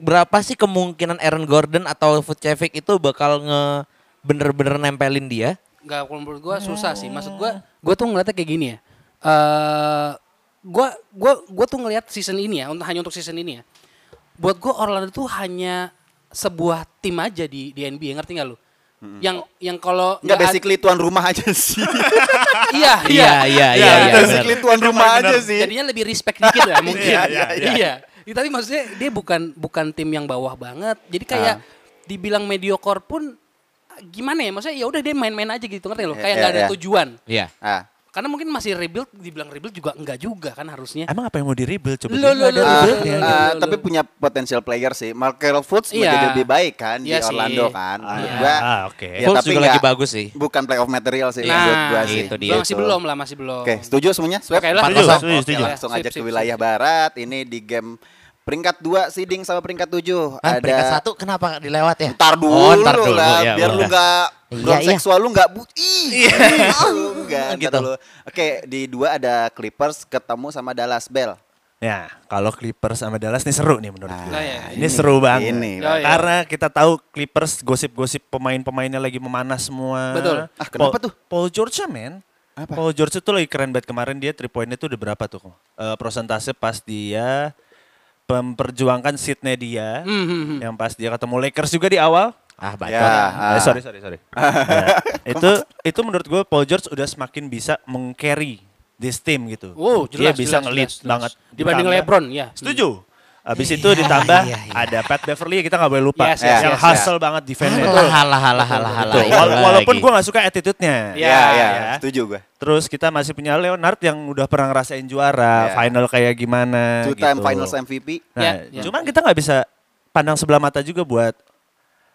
berapa sih kemungkinan Aaron Gordon atau Vucevic itu bakal nge bener-bener nempelin dia? Gak, kalau menurut gue susah sih. Maksud gue, gue Eh. tuh ngeliatnya kayak gini ya. Eh, gue gua gua tuh ngelihat season ini ya, untuk hanya untuk season ini ya. Buat gue Orlando tuh hanya sebuah tim aja di di NBA, ngerti nggak lu? Yang yang kalau Enggak nggak ad- basically tuan rumah aja sih. iya iya iya, Iya, iya, iya. basically tuan rumah aja sih. Jadinya lebih respect dikit lah mungkin. Iya, iya, iya. Iya, Tapi maksudnya dia bukan bukan tim yang bawah banget. Jadi Ah. kayak dibilang mediocre pun ah, gimana ya? Maksudnya ya udah dia main-main aja gitu ngerti loh. Iya, Kayak iya, nggak ada iya. tujuan. Iya. Ah. Karena mungkin masih rebuild, dibilang rebuild juga enggak juga kan harusnya. Emang apa yang mau di rebuild? Coba Lo, dia lo, lo, nggak ada Ah, Betul, rebuild-nya. gitu. iya, ah, iya, iya. tapi punya potensial player sih. Markel Iya. Fultz menjadi lebih baik kan Iya di sih. Orlando kan. Menurut Iya. gua. Ah, oke. ya, Fultz tapi juga nggak- lagi bagus sih. Bukan playoff material sih Nah, menurut gua sih. itu dia. Belum- masih belum lah, masih belum. Oke, setuju semuanya? Swab? Oke lah. Setuju, 4-0. setuju, Oke, setuju. langsung Sip, aja sip, ke sip, wilayah barat. Ini di game peringkat 2 seeding sama peringkat 7. Hah, Ah, peringkat satu kenapa nggak dilewat ya? Ntar dulu, Oh, ntar dulu. lah, Ya, biar lu udah. nggak Iya, belum iya. seksual lu nggak bu, ih, iya, lu nggak ntar Gitu. dulu. Oke, di dua ada Clippers ketemu sama Dallas Bell. Ya, kalau Clippers sama Dallas nih seru nih menurut Oh, gue. Nah, iya. ya. Ini, seru banget. Ini, Ya, ya. Karena kita tahu Clippers gosip-gosip pemain-pemainnya lagi memanas semua. Betul. Ah, kenapa Paul- tuh? Paul George ya, men. Apa? Paul George itu lagi keren banget kemarin dia three pointnya tuh udah berapa tuh? Eh, prosentase pas dia memperjuangkan seatnya dia. Hmm, hmm, hmm. Yang pas dia ketemu Lakers juga di awal. Ah, baca. Ya, ah. Eh, sorry sorry sorry. Ah. Ya, itu itu menurut gue Paul George udah semakin bisa meng-carry this team gitu. Wow, dia jelas, bisa jelas, ngelit jelas, jelas. banget. Dibanding Ditambah- LeBron, ya. Setuju. Habis itu ditambah iya, iya. ada Pat Beverly kita nggak boleh lupa Yes, yes, yang yes, hustle banget defense-nya. Halah, halah, halah, halah, Iya, Betul. halah. Wala- walaupun gue nggak suka Ya, attitude-nya. Iya, Ya, ya, ya. setuju gue. Terus kita masih punya Leonard yang udah pernah ngerasain Ya. juara, final kayak gimana Two gitu. time finals MVP. Nah, Ya, ya. cuman kita nggak bisa pandang sebelah mata juga buat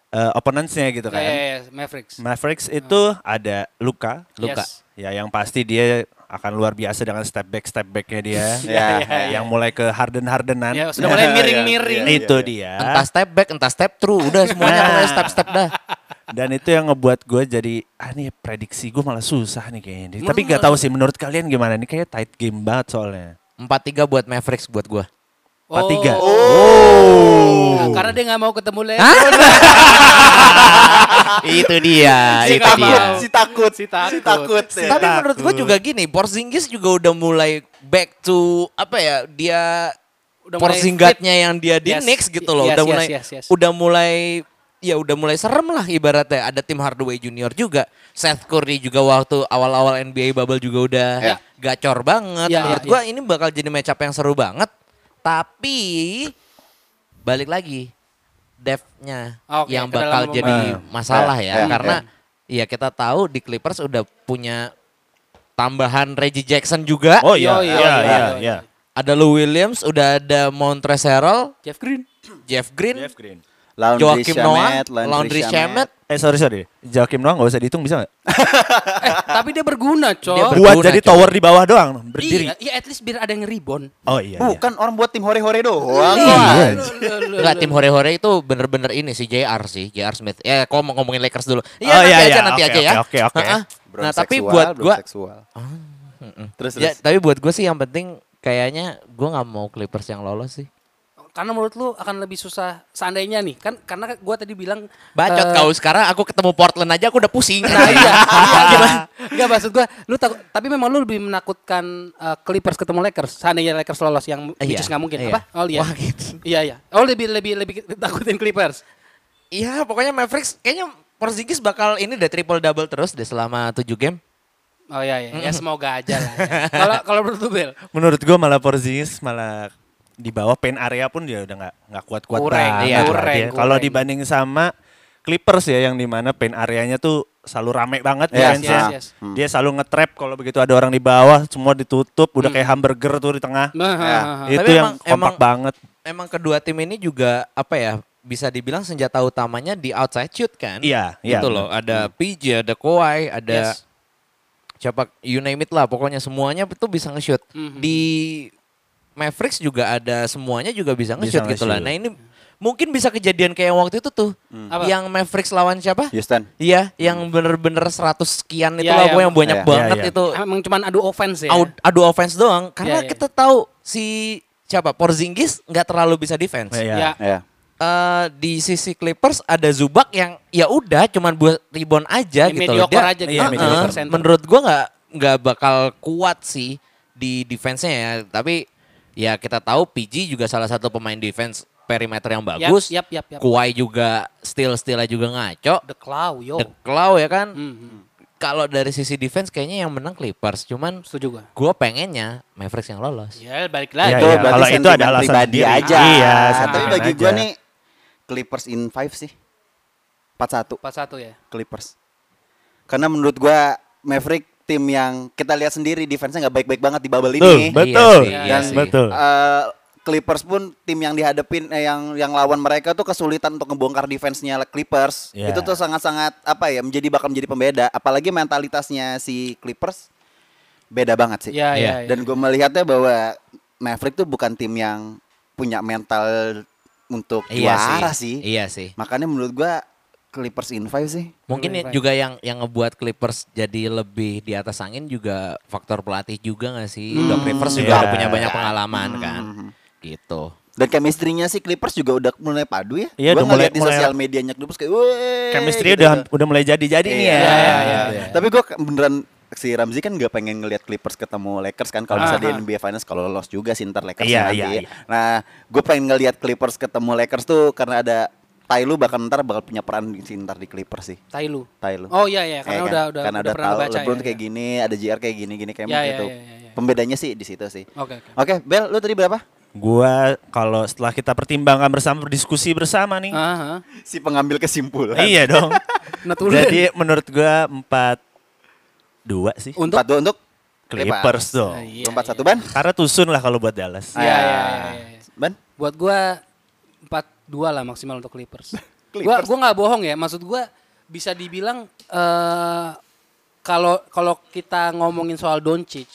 eh, opponents-nya gitu Ya, kan. ya, ya, Mavericks. Mavericks itu ada Luka, Luka. Yes. Ya yang pasti dia akan luar biasa dengan step back step backnya dia. Ya, ya, Yang mulai ke harden hardenan. Ya, sudah mulai miring-miring. Ya, ya, Nah, itu ya. dia. Entah step back, entah step through, udah semuanya Nah. pokoknya step-step dah. Dan itu yang ngebuat gue jadi ah nih prediksi gue malah susah nih kayaknya. Tapi nggak tahu sih menurut kalian gimana nih kayak tight game banget soalnya. 4-3 buat Mavericks buat gue. Empat tiga. Oh. Karena dia nggak mau ketemu LeBron. itu Nah, dia, Si Nah, itu Kamal. dia. Iya. Si takut, si takut, takut. si takut. ya. Tapi menurut gue juga gini, Porzingis juga udah mulai back to apa ya? Dia Udah mulai Porzingatnya yang dia di Yes. Knicks gitu loh, Yes, udah yes, mulai yes, yes. udah mulai ya udah mulai serem lah ibaratnya. Ada tim Hardaway Junior juga, Seth Curry juga waktu awal-awal NBA bubble juga udah Ya. gacor banget. Ya, menurut ya, gue ini bakal jadi match up yang seru banget. Tapi balik lagi depth-nya Oke, yang ke bakal dalam jadi masalah Eh, ya, eh, karena ya kita tahu di Clippers udah punya tambahan Reggie Jackson juga. Oh Yo, iya iya yo, iya. yo, yo. iya. Ada Lou Williams, udah ada Montrezl Harrell, Jeff Green. Jeff Green, Jeff Green. Laundry Joakim Shamet, Noah, Laundry Shamet. Eh sorry sorry. Joakim Noah nggak usah dihitung bisa nggak? Tapi dia berguna, Dia Cok. ber- Buat Berguna, jadi coy. tower di bawah doang berdiri. Iya, iya, at least biar ada yang rebound. Oh iya. iya. Bukan orang buat tim hore-hore doang. Iya. Wah. Enggak tim hore-hore itu bener-bener ini si JR sih, JR Smith. Ya, kok mau ngomongin Lakers dulu. Iya, Oh, nanti iya, aja iya. nanti Oke, aja ya. oke, oke, oke. Heeh. Belum Nah, tapi seksual, buat belum gua seksual. Ah. Terus, ya, terus. tapi buat gua sih yang penting kayaknya gua nggak mau Clippers yang lolos sih. Karena menurut lu akan lebih susah seandainya nih kan karena gua tadi bilang Bacot eh, kau sekarang aku ketemu Portland aja aku udah pusing. Nah iya, iya gimana? Enggak maksud gua lu takut tapi memang lu lebih menakutkan eh, Clippers ketemu Lakers seandainya Lakers lolos yang Iya, which is nggak mungkin iya. apa? Oh iya. Wah, gitu. Iya iya. Oh lebih lebih lebih takutin Clippers. Iya, pokoknya Mavericks kayaknya Porzingis bakal ini deh triple double terus deh selama 7 game. Oh iya iya. Ya semoga aja lah. ya. Kalau kalau menurut lu Bel Menurut gue malah Porzingis malah di bawah pen area pun dia udah nggak nggak kuat-kuat Kurang, banget iya. lah kurang, dia. Kalau kurang. dibanding sama Clippers ya yang dimana pen areanya tuh selalu rame Yes, banget defense-nya. yes, yes. Dia selalu nge-trap kalau begitu ada orang di bawah semua ditutup udah kayak hamburger tuh di tengah. Hmm. Nah, Itu Tapi yang emang- kompak emang- banget. Emang kedua tim ini juga apa ya? Bisa dibilang senjata utamanya di outside shoot kan? Iya, iya. Gitu loh, ada PJ, ada Kawhi, ada Yes. siapa you name it lah, pokoknya semuanya itu bisa nge-shoot. Di Mavericks juga ada semuanya juga bisa Bisa nge-shoot gitu lah. nge-shoot. Nah, ini mungkin bisa kejadian kayak yang waktu itu tuh. Apa? Yang Mavericks lawan siapa? Houston. Iya, yang bener-bener 100 sekian itu Iya, lah iya. pokoknya yang banyak Iya. banget Iya, iya. itu. Emang cuman adu offense ya. Oh. Out- adu offense doang karena Iya, iya. kita tahu si siapa Porzingis nggak terlalu bisa defense. Iya. Ya. Ya. eh, di sisi Clippers ada Zubak yang ya udah cuman buat rebound Ya, aja gitu loh. mediocre Dia- aja iya, Heeh, mediocre center. menurut gua nggak nggak bakal kuat sih di defense-nya ya. Tapi ya kita tahu PG juga salah satu pemain defense perimeter yang bagus. yap, yap, yap. Kuai juga steal stealnya juga ngaco. The Claw, yo. The Claw ya kan. Mhm. Kalau dari sisi defense kayaknya yang menang Clippers. Cuman Setuju gua. gua pengennya Mavericks yang lolos. Ya, balik Iya, lagi. Itu iya. berarti Kalau itu ada sentimen alasan pribadi sendiri. aja. Iya, Tapi sentimen bagi gue aja. nih Clippers in 5 sih. 4-1 Pas satu ya. Clippers. Karena menurut gua Maverick tim yang kita lihat sendiri defense-nya nggak baik-baik banget di bubble Betul, ini. betul, Iya Dan sih. betul. Eh, Clippers pun tim yang dihadapin eh, yang yang lawan mereka tuh kesulitan untuk ngebongkar defense-nya Clippers. Iya. Itu tuh sangat-sangat apa ya menjadi bakal menjadi pembeda apalagi mentalitasnya si Clippers beda banget sih. Iya, iya. iya. Dan gue melihatnya bahwa Maverick tuh bukan tim yang punya mental untuk Iya juara sih. Iya sih. Makanya menurut gua Clippers in five sih. Mungkin Right, right. juga yang yang ngebuat Clippers jadi lebih di atas angin juga faktor pelatih juga gak sih? Hmm. Doc Rivers juga iya. udah punya banyak pengalaman kan. Gitu. Dan chemistry-nya sih Clippers juga udah mulai padu ya. Iya, Gua udah mulai- ngeliat di mulai- sosial medianya Clippers kayak "Weh," Chemistry gitu udah tuh. udah mulai jadi-jadi nih ya. Iya, iya, iya. Gitu ya. Tapi gua ke- beneran si Ramzi kan gak pengen ngelihat Clippers ketemu Lakers kan kalau bisa di Aha. NBA Finals kalau lolos juga sih ntar Lakers Iya, nanti. iya, iya. Nah, gue pengen ngelihat Clippers ketemu Lakers tuh karena ada Tai lu bakal ntar bakal punya peran di sini ntar di Clippers sih. Tai lu. Tai lu. Oh iya iya, karena Iya kan? udah udah karena udah udah pernah ya. tahu baca. LeBron kayak gini, ada JR kayak gini, gini kayak Iya, iya, gitu. iya, iya, iya. Pembedanya sih di situ sih. Oke, oke. Oke, Bel, lu tadi berapa? Gua kalau setelah kita pertimbangkan bersama berdiskusi bersama nih. Aha. Si pengambil kesimpulan. Iya dong. Nah, tuh lu- Jadi menurut gua empat dua sih. untuk Empat dua untuk Clippers tuh. Iya, Empat satu ban. Karena tusun lah kalau buat Dallas. Iya, iya, Ah. iya, iya. Ban. buat gua 4-2 lah maksimal untuk Clippers. Gua Clippers. gua nggak bohong ya, maksud gua bisa dibilang eh, kalau kalau kita ngomongin soal Doncic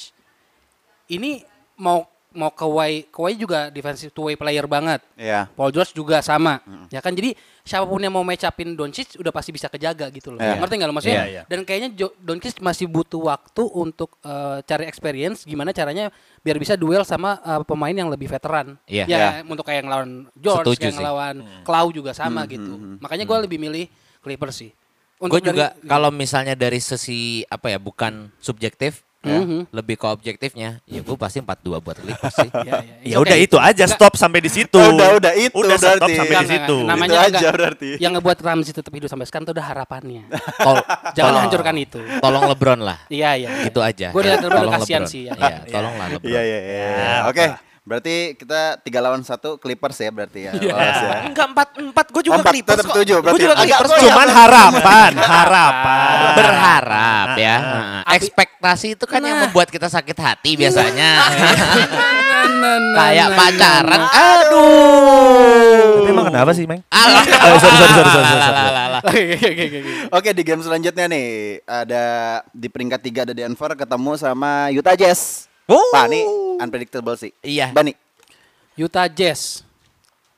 ini mau mau Kawhi Kawhi juga defensive two way player banget. Iya. Paul George juga sama. Ya kan jadi siapapun yang mau match upin Doncic udah pasti bisa kejaga gitu loh. Iya. Ngerti nggak lo maksudnya? Iya, iya. Dan kayaknya Jo- Doncic masih butuh waktu untuk eh, cari experience gimana caranya biar bisa duel sama eh, pemain yang lebih veteran. Iya. Ya, Iya. untuk kayak ngelawan George, Setuju kayak sih. ngelawan Klau juga sama gitu. Makanya gue lebih milih Clippers sih. Gue Untuk juga dari- kalau misalnya dari sesi apa ya bukan subjektif ya, Mhm. lebih ke objektifnya ya gue pasti 4-2 buat Clippers sih. Iya, iya. It's Ya udah okay. itu aja stop sampai di situ. Udah, udah, itu Udah stop berarti. sampai di Enggak, situ. enggak, enggak. Namanya Itu enggak- aja berarti. Yang ngebuat Ramzi tetap hidup sampai sekarang itu udah harapannya. Tol- Jangan tolong- hancurkan itu. Tolong LeBron lah. Iya, iya. Gitu aja. Gue udah Ya, terlalu tolong kasihan LeBron. sih. Ya. Iya, tolonglah LeBron. Iya, iya, iya. Oke. Berarti kita tiga lawan satu Clippers ya berarti ya. Iya. lolos ya. Enggak empat empat gue juga Oh, empat, Clippers tetap kok. tujuh, Gue berarti ya? juga agak Clippers goyang. kok. Cuman harapan, harapan. berharap ya. Nah, Ekspektasi itu kan yang Nah. membuat kita sakit hati biasanya. Nah, nah, nah, Kayak nah, pacaran. nah. Aduh. Tapi emang kenapa sih, Meng? Alah. Oh, sorry, sorry, sorry, sorry, sorry. Alah. Oke, oke, oke, oke. Oke, di game selanjutnya nih ada di peringkat tiga ada Denver ketemu sama Utah Jazz. Wuh. Oh. Wah, ini unpredictable sih. Iya. Bani, nah. Utah Jazz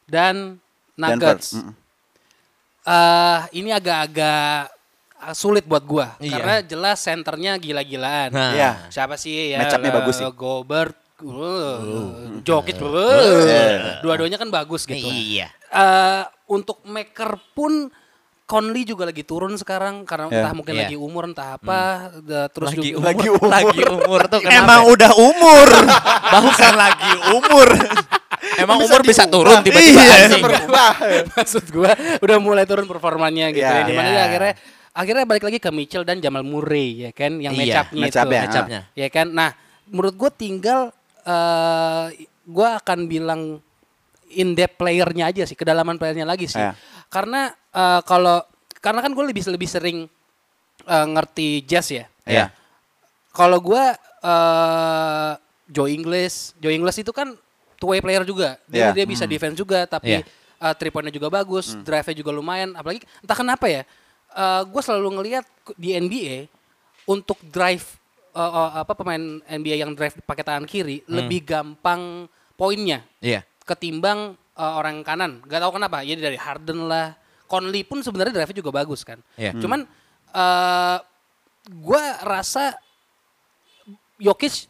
dan Denver. Nuggets. Mm-mm. Eh, ini agak-agak eh, sulit buat gua Iya. karena jelas senternya gila-gilaan. Nah. Iya. Siapa sih ya? Match-up-nya eh, bagus sih. Gobert, uh, Jokic, uh, Iya. dua-duanya kan bagus gitu. Iya. Eh, untuk maker pun Conley juga lagi turun sekarang karena Iya. entah mungkin Iya. Hmm. lagi umur entah apa eh, terus Lagi juga umur, lagi umur, tuh kenapa? ya? Emang udah umur. Bukan lagi umur. emang umur bisa turun tiba-tiba Iya. anjing. maksud gua udah mulai turun performanya gitu ya. Iya. Dimana Iya. dia akhirnya akhirnya balik lagi ke Mitchell dan Jamal Murray ya kan yang Iya, match upnya match itu up-nya, Match up-nya. ya kan nah menurut gua tinggal eh gua akan bilang in depth playernya aja sih kedalaman playernya lagi sih Iya. karena eh, kalau karena kan gue lebih lebih sering eh, ngerti jazz ya Iya. kalau gua eh Joe Ingles, Joe Ingles itu kan two way player juga. Dia Iya. dia bisa defense juga tapi Iya. eh, three point-nya juga bagus, drive-nya juga lumayan. Apalagi entah kenapa ya, eh gue selalu ngelihat di NBA untuk drive eh, eh, apa pemain NBA yang drive pakai tangan kiri lebih gampang poinnya Iya. ketimbang eh, orang kanan. Gak tahu kenapa. Ya dari Harden lah. Conley pun sebenarnya drive-nya juga bagus kan. Hmm. Iya. Cuman eh gua rasa Jokic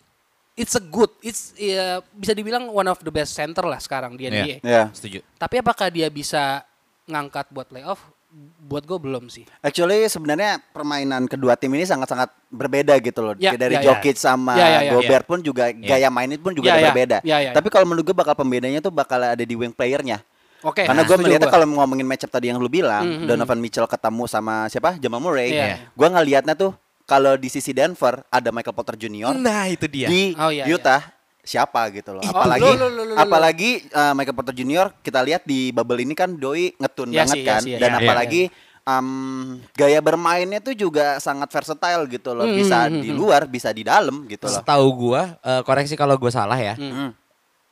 it's a good, it's ya, bisa dibilang one of the best center lah sekarang di NBA. Ya. Setuju. Tapi apakah dia bisa ngangkat buat playoff? Buat gue belum sih. Actually sebenarnya permainan kedua tim ini sangat-sangat berbeda gitu loh. Ya, Dari ya, ya. Jokic sama Ya, ya, ya. Gobert pun juga gaya mainnya pun Ya, juga ada ya. berbeda. Ya, ya, ya. Tapi kalau menurut gue bakal pembedanya tuh bakal ada di wing playernya. Oke. Karena nah, gue setuju melihatnya gua. kalau ngomongin matchup tadi yang lu bilang, Mhm. Donovan Mitchell ketemu sama siapa? Jamal Murray. Iya. Gue ngelihatnya tuh kalau di sisi Denver ada Michael Porter Jr. Nah itu dia. di Oh, Mm, iya, Utah siapa gitu loh. Itu. Apalagi Lu, lu, lu, lu, lu. apalagi uh, Michael Porter Jr. kita lihat di bubble ini kan doi ngetun Iya banget sih, iya kan sih, iya. dan Iya, apalagi um, gaya bermainnya tuh juga sangat versatile gitu loh. Hmm, hmm, Bisa hmm, di hmm. luar, bisa di dalam gitu loh. Setahu gua, eh, koreksi kalau gua salah ya.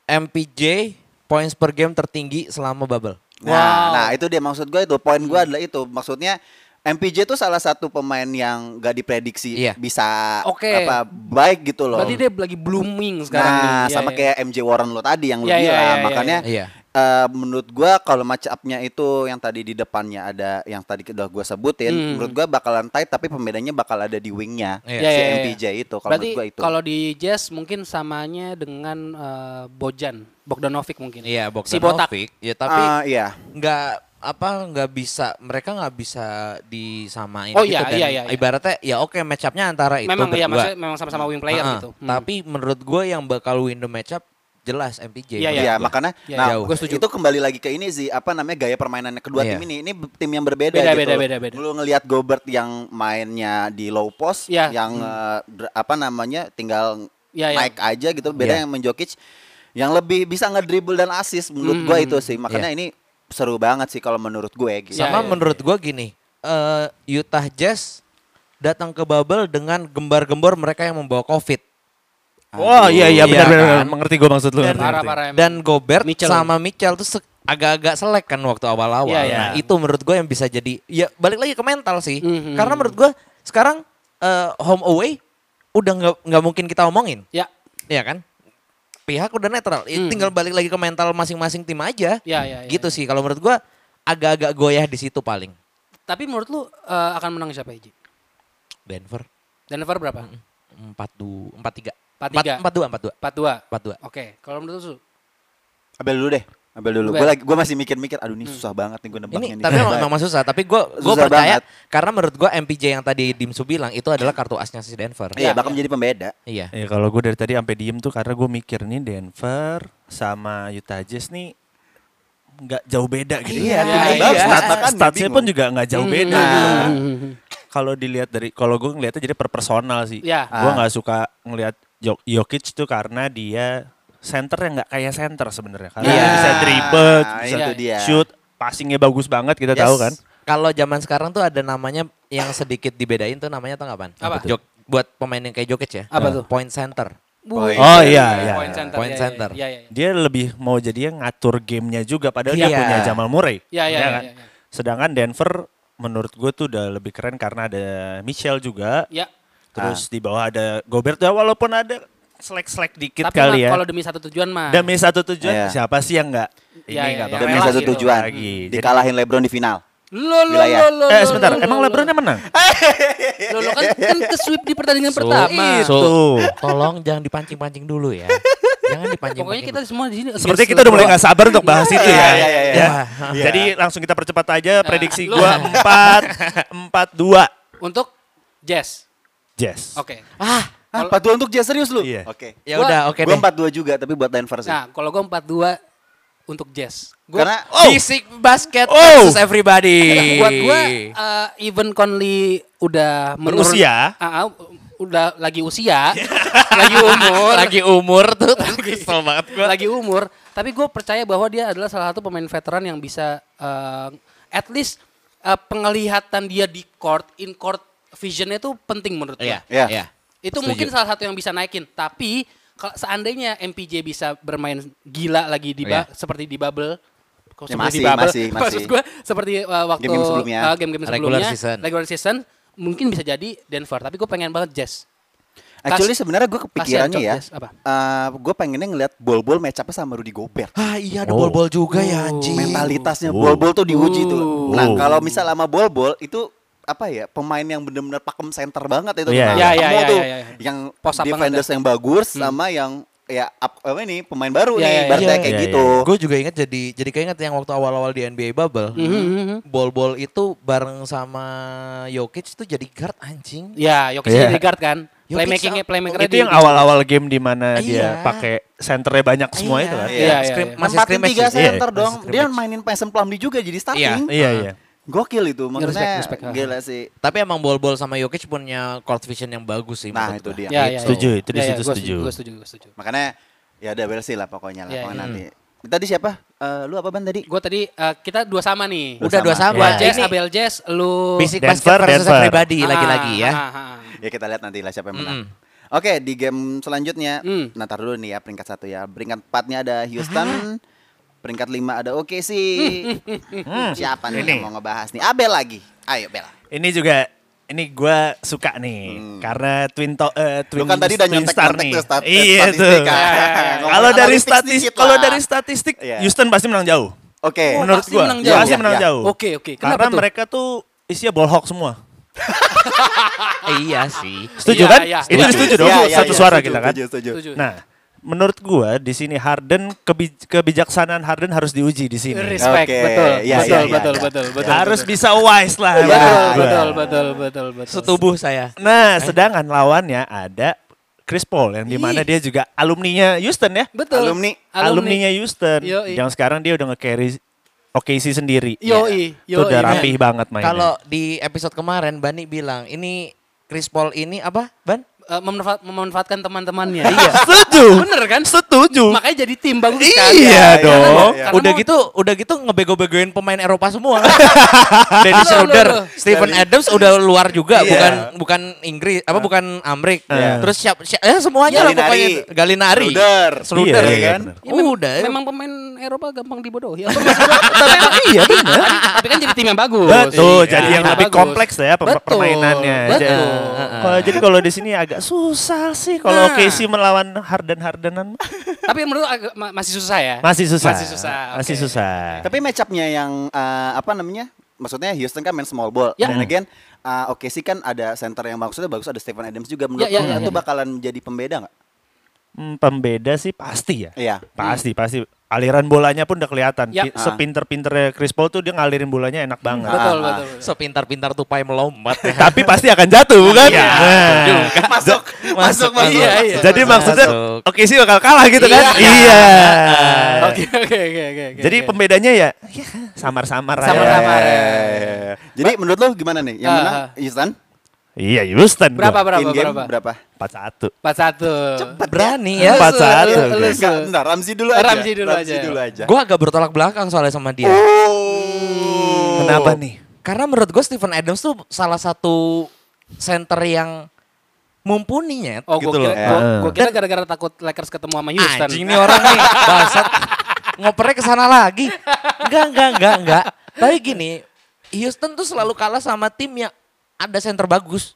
MPJ points per game tertinggi selama bubble. Nah, Wow. Hmm. nah itu dia maksud gue itu poin gue adalah itu maksudnya MPJ itu salah satu pemain yang gak diprediksi Iya. bisa Oke. apa baik gitu loh. Berarti dia lagi blooming sekarang. nah, nih. Iya, sama iya. kayak MJ Warren lo tadi yang lo Iya, iya, bilang, iya, iya, makanya Iya. eh, menurut gue kalau match up-nya itu yang tadi di depannya ada yang tadi udah gue sebutin, Hmm. menurut gue bakalan tight tapi pembedanya bakal ada di wingnya Iya. si Iya, iya, iya. MPJ itu. Kalau Berarti menurut gue itu. kalau di Jazz mungkin samanya dengan eh, Bojan, Bogdanovic mungkin. Iya, Si Bogdanovic. botak. Ya Ah, tapi iya. nggak apa nggak bisa mereka nggak bisa disamain Oh, gitu iya, dan iya, iya, iya. ibaratnya ya oke match up-nya antara itu Memang ya, berdua. maksudnya memang sama-sama wing player Ha-ha. gitu. Hmm. Tapi menurut gue yang bakal win the match up jelas MPJ. Iya, menurut Iya, gua. makanya Iya, nah, jauh. gua setuju. itu kembali lagi ke ini sih, apa namanya gaya permainan kedua Iya. tim ini. Ini b- tim yang berbeda Beda, gitu. beda, beda, beda. Lu ngelihat Gobert yang mainnya di low post, Iya. yang eh, dr- apa namanya tinggal Iya, iya. naik aja gitu, beda Iya. yang Menjokic yang lebih bisa ngedribble dan assist menurut Hmm. gua itu sih. Makanya ini seru banget sih kalau menurut gue gitu. Iya, iya, Sama menurut gue gini, eh, Utah Jazz datang ke bubble dengan gembar-gembor mereka yang membawa COVID. Wah iya Iya iya benar benar kan? benar. mengerti gue maksud lu. Dan- ngerti, ngerti. Parah-parah emang. Dan Gobert Mitchell. sama Mitchell tuh se- agak-agak selek kan waktu awal-awal. Iya, iya. Nah, itu menurut gue yang bisa jadi ya balik lagi ke mental sih. Mhm. Karena menurut gue sekarang eh, home away udah nggak nggak mungkin kita omongin, Ya, ya kan? Pihak udah netral, Ya, Mhm. tinggal balik lagi ke mental masing-masing tim aja. ya, ya. ya, gitu ya. sih. Kalau menurut gue agak-agak goyah di situ paling. Tapi menurut lu eh, akan menang siapa, Iji? Denver Denver berapa? empat dua empat tiga 43. empat dua empat dua 4-2. empat dua Oke, kalau menurut lu? Abel dulu deh. Abel dulu. Abel. Hmm. Gue lagi gue masih mikir-mikir, aduh ini susah banget nih gue nebaknya ini nih. tapi Susah memang, banget. memang susah tapi gue gue Susah percaya banget. karena menurut gue MPJ yang tadi Dimsu bilang itu adalah kartu asnya si Denver Iya, bakal menjadi pembeda. iya Iya kalau gue dari tadi sampai diem tuh karena gue mikir nih Denver sama Utah Jazz nih nggak jauh beda gitu. Iya, Iya, timnya iya. bagus, Stat- makanya statsnya bingung. pun juga nggak jauh beda. Hmm. gitu kan. Kalau dilihat dari kalau gue ngelihatnya jadi per personal sih. Ya. Iya. Gue Ah. nggak suka ngelihat Jok- Jokic tuh karena dia center yang nggak kayak center sebenarnya. Karena Iya. dia bisa dribble, Nah, bisa itu dia. shoot, passingnya bagus banget kita Yes. tahu kan. kalau zaman sekarang tuh ada namanya yang sedikit dibedain tuh namanya tuh apaan? Apa? Jok, buat pemain yang kayak Jokic ya Apa tuh? point center Poin. Oh iya iya. Point center. Point ya, center. Ya, ya, ya. Dia lebih mau jadi yang ngatur gamenya juga padahal dia Iya. punya Jamal Murray. Iya, iya, Ya iya, kan? iya. Sedangkan Denver menurut gue tuh udah lebih keren karena ada Michelle juga. Ya. Terus di bawah ada Gobert ya walaupun ada selek-selek dikit Tapi kali mah ya. kalau demi satu tujuan mah. Demi satu Iya. tujuan siapa sih yang nggak Iya, ini iya, nggak iya. bakal Demi Rela satu gitu. tujuan, Lagi. Jadi- dikalahin LeBron di final. Lo lo Wilayah. lo lo. lo, Eh lo, sebentar, emang lo, Lebronnya menang? Eh, Lo lo kan kan ke sweep di pertandingan So, Oh, pertama. so, Tuh. tolong jangan dipancing-pancing dulu ya jangan dipancing Pokoknya kita semua di sini. against Seperti kita udah mulai LeBron. nggak sabar untuk bahas itu Iya, ya. iya, iya, iya. Ya. Iya. Jadi langsung kita percepat aja prediksi lu- gua 4 4 2 Untuk Jazz. Jazz. Oke. ah Ah, 42 untuk Jazz serius lu? Iya. Oke. ya Gua- udah oke Gue deh 42 juga tapi buat Denver sih. Nah, kalau gue 4-2 untuk Jazz. Gua, eh, Karena Basic basket Oh. versus everybody buat gue even Conley udah menurun- Berusia. Ah, ah, udah lagi usia, lagi umur, lagi lagi umur tuh kesel banget gue lagi umur, tapi gue percaya bahwa dia adalah salah satu pemain veteran yang bisa eh, at least eh, penglihatan dia di court, in court visionnya itu penting menurut gue. Iya. Itu mungkin salah satu yang bisa naikin. Tapi kalau seandainya MPJ bisa bermain gila lagi di ba- seperti di bubble, kok seperti Ya, masih, masih, masih. Maksud gue seperti uh, waktu Game-game sebelumnya. uh, game-game Regular sebelumnya, season. regular season, mungkin bisa jadi Denver. Tapi gue pengen banget Jazz. Actually sebenarnya gue Kasian, kepikirannya ya. Jazz, apa? gue pengennya ngeliat bol-bol match up sama Rudy Gobert. Ah iya ada Oh. bol-bol juga ya anjing. Mentalitasnya bol-bol tuh diuji tuh. Nah, Oh. kalau misal sama bol-bol itu apa ya pemain yang benar-benar pakem center banget itu Nah, Iya, iya. Iya, semua iya, tuh iya, iya. ya. yang Pos lapangan defenders yang bagus sama yang ya ap- apa ini pemain baru Hmm. Iya, nih iya, ibaratnya iya. kayak Iya, gitu Gue juga ingat jadi jadi keinget yang waktu awal-awal di NBA bubble. Mhm. Hmm, Bol-bol itu bareng sama Jokic itu jadi guard anjing. Ya, Jokic Iya. jadi guard kan. Jokic Playmakingnya sama- playmaker itu yang awal-awal game di mana dia Iya. pakai centernya banyak semua itu kan. Iya. Scrim- iya. masih Nempatin scrimmage tiga sih. center Iya, dong masih dia scrimmage. mainin Payson Plumlee juga jadi starting Iya, iya. gokil itu maksudnya respect, respect. gila sih Tapi emang bol-bol sama Jokic punya court vision yang bagus Iya, sih. nah menurut itu gua. dia Ya, ya, ya. Setuju, itu di Ya, ya, situ gua setuju. Gue setuju, gue setuju. makanya ya ada versi lah pokoknya lah Iya, pokoknya iya. nanti tadi siapa Eh, lu apa ban tadi Gue tadi eh, kita dua sama nih. Udah dua sama. Sama. Gua Jazz, iya. Ini Abel Jazz, lu Bisik Denver, basket versus Denver. everybody Ah, lagi-lagi ya. ah, ah, ah. Ya kita lihat nanti lah siapa yang menang. Oke, di game selanjutnya, Mm. nah taruh dulu nih ya peringkat satu ya. Peringkat empatnya ada Houston, peringkat lima ada OKC. Mm. Siapa nih yang mau ngebahas nih? Abel lagi. Ayo Bel. Ini juga ini gua suka nih karena twin to, eh, twin, Hmm. Lu kan tadi udah twin nyontek star nyontek nih. tuh stat- iya tuh. statistik kan. Ngomong Kalau dari analitik statis sedikit kalau lah. dari statistik Iya. Houston pasti menang jauh. Oke. Oh, Menurut pasti gua menang jauh. pasti Iya, menang iya. jauh. Oke, oke. Kenapa Karena tuh? mereka tuh isinya ball hawk semua. ah. Eh, iya sih. Setuju Iya, kan? iya, Itu setuju. setuju dong. Iya, iya, satu iya, suara setuju, kita kan. Setuju, Iya, setuju. Setuju. Nah, menurut gua di sini Harden kebij- kebijaksanaan Harden harus diuji di sini. Respect, Oke, betul, ya, betul, ya, ya, betul, ya. betul, betul, harus bisa wise lah. betul, menurut betul, Ya. gua. betul, betul, betul, betul. Setubuh saya. Nah, Eh. sedangkan lawannya ada Chris Paul yang dimana Ih. dia juga alumninya Houston ya. Betul. Alumni. Alumninya Houston. Yoi. Yang sekarang dia udah nge-carry OKC sendiri. Ya, Yoi, Iya. Itu yoi. udah rapih banget mainnya. Kalau di episode kemarin Bani bilang ini Chris Paul ini apa Ban? Eh, memanfaat, memanfaatkan teman-temannya. Iya. Setuju. Bener kan? Setuju. Makanya jadi tim bagus Iya kan? iya, dong. iya, udah mau- gitu, udah gitu ngebego-begoin pemain Eropa semua. Loh, Ah, loh, Dennis Schroeder, loh. Steven Adams udah luar juga, Iya. Ah. bukan bukan Inggris, apa bukan Amrik. Iya. Terus siap, siap eh, semuanya lah Gallinari. pokoknya itu. Gallinari, Schroeder. Schroeder Iya, iya, kan. bener. Ya, mem- udah. Memang pemain Eropa gampang dibodohi. Apa maksud gua? Tapi- Iya, bener. tapi, tapi kan jadi tim yang bagus. Betul, Iya, jadi tim yang lebih bagus. kompleks lah ya pem- Betul, permainannya. Jadi- Betul. Kalau jadi kalau di sini agak susah sih kalau Nah. OKC melawan Harden-Hardenan Tapi menurut agak- ma- masih susah ya? masih susah. Masih susah. oke. Masih susah. Tapi match up-nya yang eh, apa namanya? Maksudnya Houston kan main small ball. Ya. Dan again, eh, oke sih kan ada center yang bagusnya bagus, ada Stephen Adams juga menurut Ya, ya, lu ya, itu ya. bakalan jadi pembeda nggak? Hmm, pembeda sih pasti ya. Iya. Pasti, pasti. Aliran bolanya pun udah kelihatan. Yap. Pi- Sepinter-pinternya Chris Paul tuh dia ngalirin bolanya enak banget. Betul, Ah, betul. betul. Sepintar-pintar tupai melompat. ya. Tapi pasti akan jatuh bukan? Iya, Nah. Masuk, masuk, Masuk, masuk. Iya, iya. Jadi Masuk. maksudnya oke sih bakal kalah gitu kan? Iya. Iya. Ah. Oke, oke, oke, oke. oke, Jadi oke. pembedanya ya ya, samar-samar aja. Samar-samar. Eh, Jadi menurut lo gimana nih? Yang Ah, menang ah. Houston? Iya, Houston. berapa gua. berapa In game berapa? berapa? 41. 41. Berani ya. Iya. Empat Lu- saat, lu- oke. lu- Enggak, bentar, Ramzi dulu aja. Ramzi dulu aja. ya? Gue agak bertolak belakang soalnya sama dia. Oh. Kenapa nih? Karena menurut gue Steven Adams tuh salah satu center yang mumpuni nyet. Oh, Gitu gua kira, loh. gua, Eh. gua kira gara-gara takut Lakers ketemu sama Houston. Anjing nih orang nih, bangsat. Ngopernya ke sana lagi. Enggak, enggak, enggak, enggak. Tapi gini, Houston tuh selalu kalah sama tim yang ada center bagus.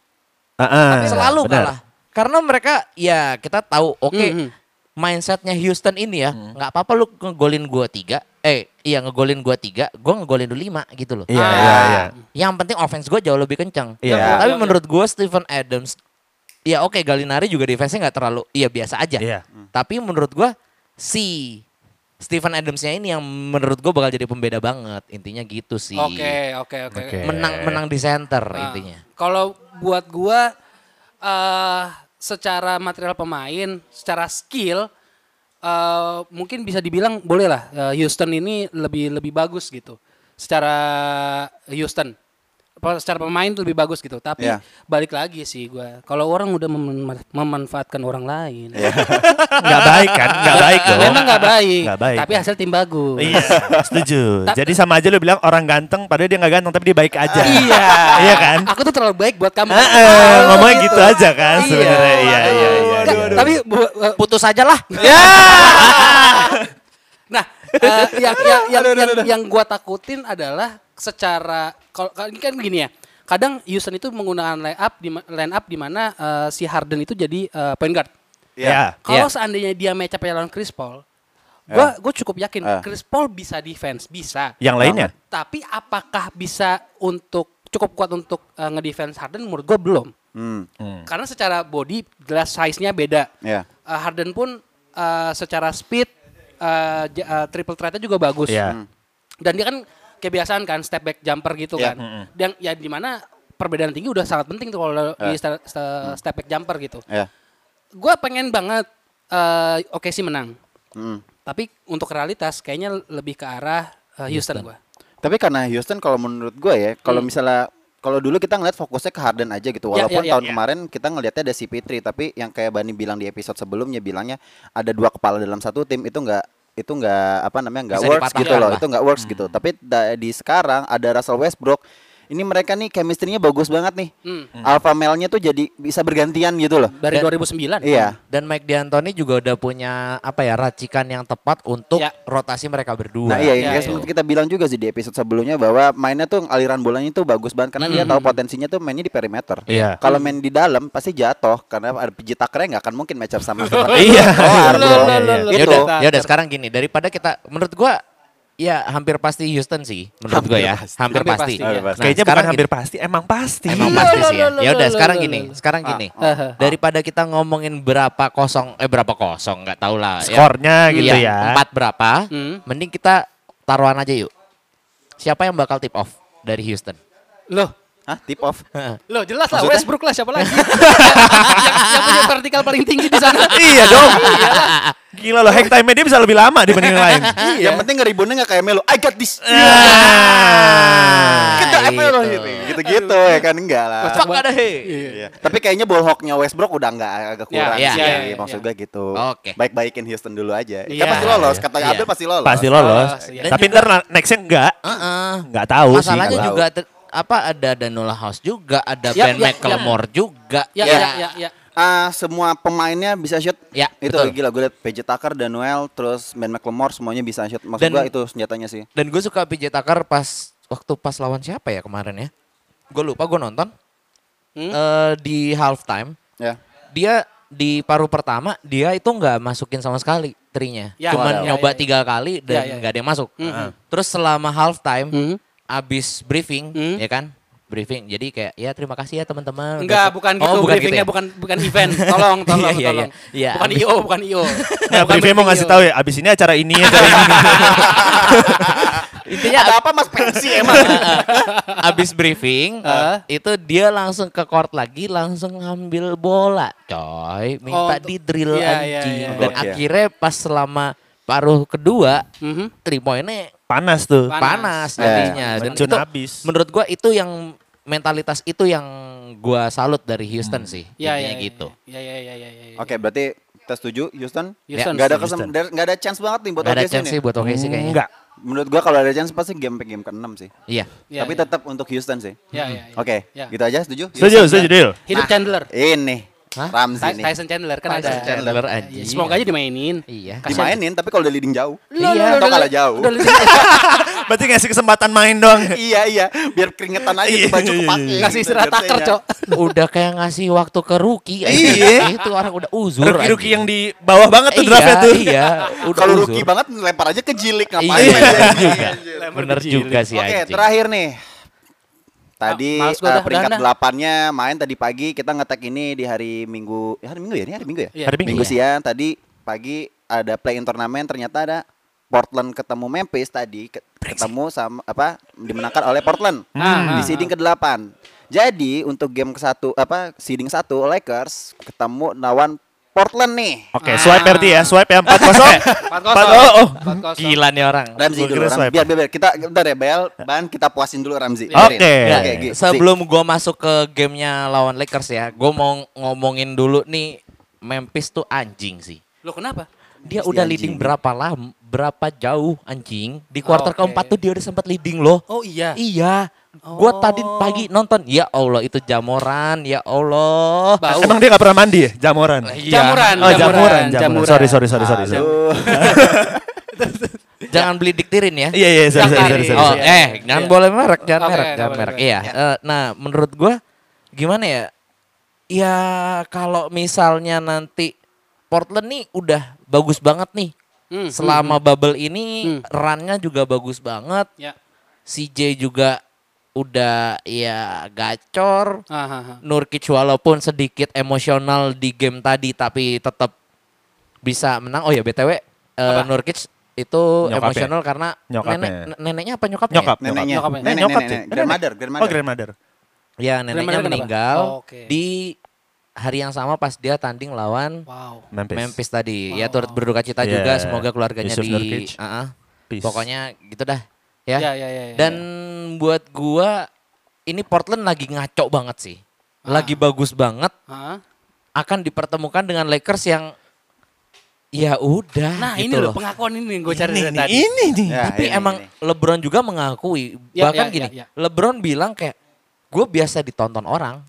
Heeh, Selalu Ah, Iya, benar. kalah. Karena mereka ya kita tahu oke Mhm. mindsetnya Houston ini ya nggak apa-apa lu ngegolin gua tiga eh iya ngegolin gua tiga gua ngegolin lu lima gitu loh Iya, Ah. iya, iya. yang penting offense gua jauh lebih kencang Iya. tapi Iya. menurut gua Stephen Adams ya oke Galinari juga defense-nya nggak terlalu iya biasa aja Iya. tapi menurut gua si Stephen Adamsnya ini yang menurut gua bakal jadi pembeda banget intinya gitu sih Oke, oke, oke. Oke. menang menang di center Nah, intinya Kalau buat gua eh secara material pemain, secara skill eh mungkin bisa dibilang boleh lah eh, Houston ini lebih lebih bagus gitu. Secara Houston Pe- secara pemain tuh lebih bagus gitu. Tapi Iya. balik lagi sih gua. Kalau orang udah mem- memanfaatkan orang lain. Enggak baik kan? Enggak baik dong. Memang nggak baik, Nggak baik. ya. Tapi hasil tim bagus. Iya, setuju. Jadi sama aja lu bilang orang ganteng padahal dia nggak ganteng tapi dia baik aja. Iya. Iya kan? Aku tuh terlalu baik buat kamu. Heeh, ngomongnya gitu. aja kan sebenarnya. Iya, iya, iya. Nggak, iya. Tapi bu- eh, putus aja lah ya. Nah, eh, yang yang yang, yang, yang gua takutin adalah secara kalau kalau ini kan gini ya. Kadang Houston itu menggunakan line up di ma- line up di mana eh, si Harden itu jadi eh, point guard. Ya. Kalau Iya. seandainya dia match up lawan Chris Paul, gua gua cukup yakin Eh. Chris Paul bisa defense, bisa. Yang lainnya? Tapi apakah bisa untuk cukup kuat untuk eh, ngedefense Harden menurut gue belum. Hmm. Karena secara body jelas size-nya beda. Ya. Eh, Harden pun eh, secara speed eh, ja- eh, triple threat-nya juga bagus. Iya. Hmm. Dan dia kan kebiasaan kan step back jumper gitu Iya. kan. Dan ya di mana perbedaan tinggi udah sangat penting tuh kalau Eh. di sta- sta- step back jumper gitu. Ya. Gue pengen banget eh oke sih menang. Hmm. Tapi untuk realitas kayaknya lebih ke arah eh, Houston, gua. Tapi karena Houston kalau menurut gue ya, kalau misalnya kalau dulu kita ngeliat fokusnya ke Harden aja gitu. Hmm. Ya, ya, Walaupun ya, tahun ya. kemarin kita ngelihatnya ada CP3, tapi yang kayak Bani bilang di episode sebelumnya bilangnya ada dua kepala dalam satu tim itu nggak itu nggak apa namanya nggak Bisa works dipatahkan gitu loh. lah. Itu nggak works Hmm. gitu. Tapi da- di sekarang ada Russell Westbrook. Ini mereka nih chemistry-nya bagus banget nih. Hmm. Alpha male-nya tuh jadi bisa bergantian gitu loh. Dari Dan- 2009. Iya. Dan Mike D'Antoni juga udah punya apa ya racikan yang tepat untuk Ya. rotasi mereka berdua. Nah iya, Iya, iya. iya, seperti kita bilang juga sih di episode sebelumnya bahwa mainnya tuh aliran bolanya tuh bagus banget Hmm. karena dia tahu potensinya tuh mainnya di perimeter. Iya. Kalau main di dalam pasti jatuh karena ada pijit takernya nggak akan mungkin match up sama Stefan. Iya. Kelar, Lo, lo, bro. lo, lo, Ya Gitu. udah, ya udah sekarang gini daripada kita menurut gua ya hampir pasti Houston sih menurut gua ya. Hampir, Hampir pasti. pasti, ya. Nah, Kayaknya bukan sekarang gini. hampir pasti, emang pasti. Emang Iya, pasti lo, sih ya. lo, lo, Ya udah lo, sekarang lo, gini, lo. sekarang gini. Ah, ah. Daripada kita ngomongin berapa kosong eh berapa kosong nggak tahu lah ya. Skornya gitu Iya, ya. Empat berapa? Hmm. Mending kita taruhan aja yuk. Siapa yang bakal tip off dari Houston? Loh, Hah, tip off. Loh jelas lah Maksudnya? Westbrook lah siapa lagi? yang, yang punya vertikal paling tinggi di sana. iya dong. Gila loh, hang time-nya dia bisa lebih lama dibanding yang lain. Iya. Yang penting ngeribunnya nggak kayak Melo. I got this. Ah, Kita apa gitu. loh gitu. Gitu-gitu ya kan enggak lah. Fuck ada he. Iya. Tapi kayaknya bolhoknya Westbrook udah nggak agak kurang iya, sih. iya, iya, Maksud iya. gue gitu. Oke. Baik-baikin Houston dulu aja. Iya. Kan pasti lolos. Kata Iya. Abdul pasti lolos. Pasti lolos. Lolos, iya. Tapi Dan ntar na- nextnya enggak. Heeh. Enggak tahu sih. Masalahnya nggak juga te- apa ada Danula House juga, ada Yap, Ben yap, McLemore juga. Ya, Iya. ya, ya, ya. Ah, semua pemainnya bisa shoot. Ya, itu betul. gila gue liat PJ Tucker, Daniel, terus Ben McLemore semuanya bisa shoot. Maksud Dan- gue itu senjatanya sih. Dan gue suka PJ Tucker pas waktu pas lawan siapa ya kemarin ya? Gue lupa gue nonton Hmm? Eh, di halftime Ya. dia di paruh pertama dia itu nggak masukin sama sekali trinya, Ya, ya, ya, cuman ya. nyoba tiga kali dan Ya, ya, ya. nggak ada yang masuk. Mhm. Terus selama halftime Hmm? abis briefing Hmm. ya kan? Briefing. Jadi kayak ya terima kasih ya teman-teman. Enggak, Udah- bukan Oh, gitu briefingnya, ya? bukan bukan event. Tolong, tolong, Iya, iya, tolong. iya. Iya, bukan abis- IO, bukan IO. Nah, Bukan Briefnya mau briefing Iya. ngasih IO. tahu ya, abis ini acara ini, acara ini. Intinya Nah, Ada apa Mas Pensi emang? abis briefing eh, Heeh. itu dia langsung ke court lagi langsung ngambil bola coy minta Oh, di drill iya, iya, anjing iya. dan Gokil. akhirnya pas selama paruh kedua Mhm. three pointnya Panas tuh. Panas. panas Iya. nantinya dan Mencun itu- habis. menurut gua itu yang mentalitas itu yang gua salut dari Houston sih Ya, ya, intinya ya, gitu Ya, ya, ya, ya, ya. Iya. ya. Oke, berarti kita setuju Houston? Houston. Gak ada Houston. kesem, dar- nggak ada chance banget nih buat ya? Gak Ya, ada OKC chance sih nih. buat oke sih kayaknya Enggak. Menurut gua kalau ada chance pasti game game ke-6 sih. iya Ya, Tapi ya. tetap untuk Houston sih. Ya, ya, ya. Oke, Ya. gitu aja setuju? Setuju, Iya, Houston. setuju, deal. Hidup Nah. Chandler. Ini Hah? Ramsey Ty- nih. Tyson Chandler kan Tyson ada. Chandler. anjing. Semoga aja dimainin. iya Dimainin tapi kalau udah leading jauh. Lo, Iya, lo, lo, atau lo. kalah jauh. Udah, udah, Berarti ngasih kesempatan main doang. iya iya, biar keringetan aja Iya, tuh baju kepake. Kasih gitu istirahat taker, jersey-nya. Cok. udah kayak ngasih waktu ke rookie Iya. itu orang udah uzur anjing. Ruki-ruki yang di bawah banget tuh draftnya iya, tuh. Iya, udah Kalau uzur. rookie banget lempar aja ke jilik ngapain. Iya, aja. bener juga. Anjir. Bener juga sih Oke, anjing. terakhir nih. Tadi Ah, males gua eh, dah, peringkat udahan dah. delapannya main tadi pagi kita ngetek ini di hari Minggu. Ya hari Minggu ya, ini hari Minggu ya. Iya. Hari Minggu Minggu. siang tadi pagi ada play in turnamen ternyata ada Portland ketemu Memphis tadi ke- ketemu sama apa dimenangkan oleh Portland Ah, ah, di seeding ke-8. Jadi untuk game ke-1 apa seeding 1 Lakers ketemu lawan Portland nih. Oke, swipe berarti ya, swipe ya 4-0. 4-0. 4-0. Oh, Empat kosong. Gila nih orang. Ramzi Gua dulu, kira Ramzi. swipe. Biar, biar, biar. Kita, bentar ya, Bel. Ban, kita puasin dulu Ramzi. Oke. Biarin. Nggak, Gi. Iya, sebelum gua masuk ke gamenya lawan Lakers ya, gua mau ngomongin dulu nih Memphis tuh anjing sih. Lo kenapa? Dia Pasti udah anjing. leading berapa lama, berapa jauh anjing. Di quarter Oke. keempat tuh dia udah sempat leading loh. Oh iya. Iya. Gua tadi pagi nonton, ya Allah itu Jamoran, ya Allah. Bau. Emang dia gak pernah mandi ya, jamoran? Ah, Iya. Jamuran, Oh, jamuran, jamuran, jamuran. jamuran. Sorry, sorry, sorry, sorry. Aduh. sorry. Jangan beli diktirin ya. Iya, iya, sorry, Yang sorry, tadi. sorry, sorry. Oh, Iya. eh, jangan Iya. boleh merek, jangan Oke, merek, nggak jangan boleh merek. merek. Iya. eh, nah, menurut gua gimana ya? Ya kalau misalnya nanti Portland nih udah bagus banget nih. Hmm, Selama bubble ini Hmm. runnya juga bagus banget. Ya. CJ juga udah ya gacor. Ah, ah, ah. Nurkic walaupun sedikit emosional di game tadi tapi tetap bisa menang. Oh ya BTW eh, Nurkic itu Nyokapnya. emosional karena Nyokapnya. nenek nen- neneknya apa nyokapnya? Nyokap. neneknya Nyokapnya. nenek Nyokap nenek sih. nenek grandmother Oh grandmother grandmother. Ya, neneknya Grandmother kenapa? meninggal Oh, oke. di hari yang sama pas dia tanding lawan Wow. Memphis. Memphis tadi. Wow. Ya turut berduka cita Yeah. juga semoga keluarganya Yusuf di Nurkic. Ah, ah. Peace. Pokoknya gitu dah. Ya. Ya, ya, ya. ya, Dan ya. buat gua ini Portland lagi ngaco banget sih. Lagi bagus banget Ah. akan dipertemukan dengan Lakers yang ya udah Nah, gitu ini loh loh. pengakuan ini yang gue cari dari ini, tadi. ini nih. Ya, Tapi ini, emang ini. LeBron juga mengakui Ya, bahkan ya, gini. ya, ya. LeBron bilang kayak gue biasa ditonton orang.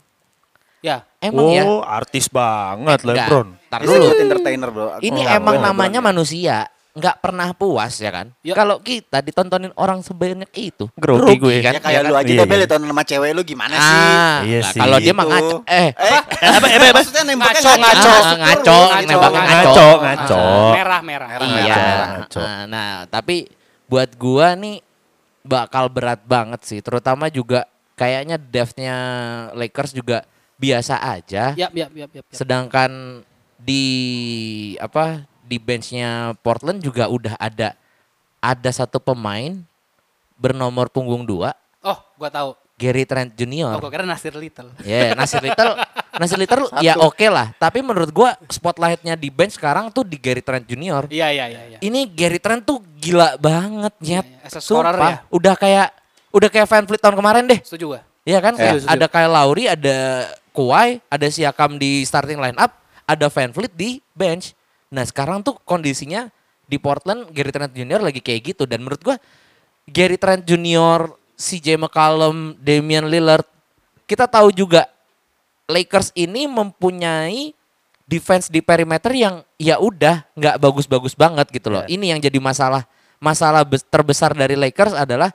Ya. Emang oh, ya. artis banget Enggak, LeBron. Ntar Bisa dulu. disebut entertainer bro Ini Kalau emang LeBron namanya ya. manusia nggak pernah puas ya kan? Ya. Kalau kita ditontonin orang sebanyak itu, Grogi gue. kan? Ya kayak kan? lu aja Iya, deh iya. Bel, ditonton sama cewek lu gimana sih? Ah, Iya lah, sih. kalau dia mah Gitu. ngaco, eh, apa, apa, maksudnya nembaknya Ngaco, ngaco. Ah, ngaco, Ngaco, nembaknya Ngaco, ngaco. ngaco. Ah, merah, merah. Merah. Iya. Ngaco. Nah, nah, tapi buat gua nih bakal berat banget sih, terutama juga kayaknya depth-nya Lakers juga biasa aja. Yap, yap, yap, yap. yap. Sedangkan di apa di benchnya Portland juga udah ada ada satu pemain bernomor punggung dua, Oh, gue tahu. Gary Oh, Trent Junior. gue kira Nasir Little. Ya, Nasir Little, Nasir Little ya Satu. oke lah. Tapi menurut gua spotlightnya di bench sekarang tuh di Gary Trent Junior. Iya, iya, iya. iya. Ini Gary Trent tuh gila banget Iya, nyet. iya. As a scorer Sumpah, ya. Udah kayak udah kayak Van Fleet tahun kemarin deh. Setuju gue. Iya kan? Kayak Setuju, setuju. Ada Kyle Lowry, ada Kuai, ada Siakam di starting line up, ada Van Fleet di bench. Nah sekarang tuh kondisinya di Portland Gary Trent Jr. lagi kayak gitu. Dan menurut gua Gary Trent Jr., CJ McCollum, Damian Lillard, kita tahu juga Lakers ini mempunyai defense di perimeter yang ya udah nggak bagus-bagus banget gitu loh. Iya. Ini yang jadi masalah masalah bes- terbesar dari Lakers adalah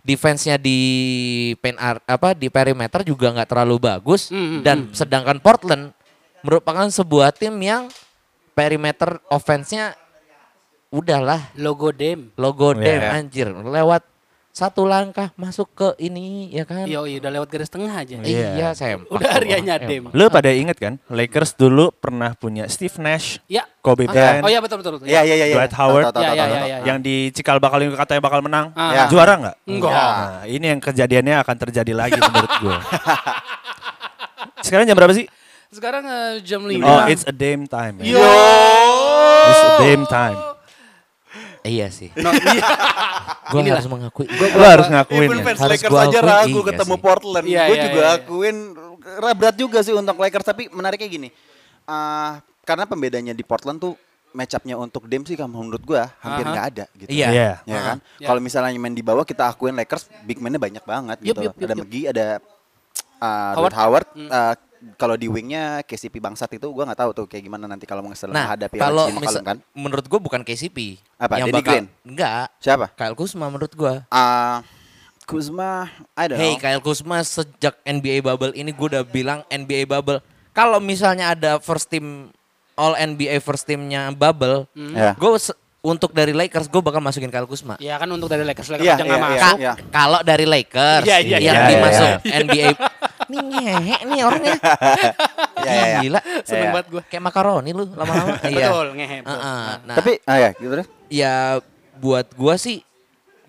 defense-nya di pen apa di perimeter juga nggak terlalu bagus Mm, mm, dan sedangkan Portland merupakan sebuah tim yang perimeter offense-nya udahlah Logo Dem. logo Iya, dem iya. anjir lewat satu langkah masuk ke ini ya kan. Iya, iya, udah lewat garis tengah aja. Iya. Iya, sempak. Udah Aryanya Emang. Dem. Lu pada inget kan? Lakers dulu pernah punya Steve Nash, Ya. Kobe Ah, Bryant, Oh, iya, betul, betul. betul. Iya, iya, iya. iya. Dwight Howard. Tau, tau, Iya, tau, tau, iya, tau. iya. yang dicikal bakal yang katanya bakal menang. Ah. Ya. Juara nggak? Enggak. Nah, ini yang kejadiannya akan terjadi lagi menurut gue. Sekarang jam berapa sih? Sekarang eh, jam 5. Oh, it's a damn time. ya. Yo. It's a damn time. Iya sih. No, iya. Ah, Gue Inilah. harus mengakui. Lo harus ngakuin Even ya. fans Harus Lakers gua aja akui, ragu iya ketemu sih. Portland. Iya, gue iya, juga iya. akuin ra- berat juga sih untuk Lakers tapi menariknya gini. eh, karena pembedanya di Portland tuh match up-nya untuk Dame sih kalau menurut gue hampir Aha. nggak ada gitu. Iya. Iya. Ya kan? Iya. Kalau misalnya main di bawah kita akuin Lakers big man-nya banyak banget Yup, gitu. yup, yup, ada yup. McGee, ada uh, Howard. Hmm. Dwight Howard. uh, kalau di wingnya KCP Bangsat itu gua nggak tahu tuh kayak gimana nanti kalau menghadapi Nah, menghadapi kalau Alexi misa- McCollum kan. menurut gue bukan KCP. Apa, Yang Danny bakal, Green? Enggak. Siapa? Kyle Kuzma menurut gue. Ah, Kuzma, I don't Hey know. Kyle Kuzma sejak NBA bubble ini gue udah bilang NBA bubble. Kalau misalnya ada first team All NBA first teamnya bubble, Ya. gue untuk dari Lakers gue bakal masukin Kyle Kuzma. Ya kan untuk dari Lakers, Lakers Iya, aja nggak iya, iya. Ka- masuk. Ya. Kalau dari Lakers Iya, iya, yang iya. dimasuk Iya, NBA. Nih ngehe nih orangnya. Ya, ya, ya. Gila. Seneng Iya. banget gue. Kayak makaroni lu lama-lama. Iya. Betul, ngehe. betul. Heeh, Nah, Tapi ah ya, gitu deh. ya buat gua sih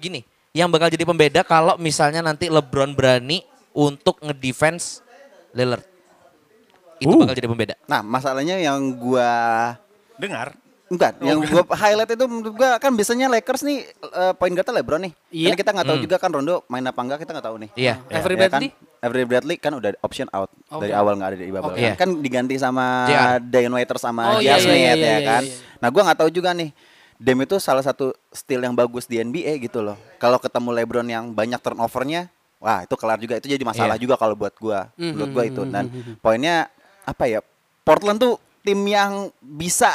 gini, yang bakal jadi pembeda kalau misalnya nanti LeBron berani untuk ngedefense Lillard. Itu Uh. bakal jadi pembeda. Nah, masalahnya yang gua Dengar. Enggak, Oh, yang gua highlight itu menurut gua kan biasanya Lakers nih eh, poin guardnya LeBron nih. Iya. Karena kita nggak tahu juga kan Rondo main apa enggak kita nggak tahu nih. Iya. Ah, Avery Ya kan? Bradley? Oh, Avery Bradley kan udah option out Oke. dari awal nggak ada di bubble Oke. kan. Iya. Kan diganti sama JR. Dion Waiters sama Oh, oh, iya, Smith iya, iya, ya iya, kan. iya, iya. Nah gua nggak tahu juga nih. Dem itu salah satu steal yang bagus di NBA gitu loh. Kalau ketemu LeBron yang banyak turnovernya, wah itu kelar juga. Itu jadi masalah Iya. juga kalau buat gua. Mhm, Menurut gua itu. Dan mhm, mhm. poinnya apa ya? Portland tuh tim yang bisa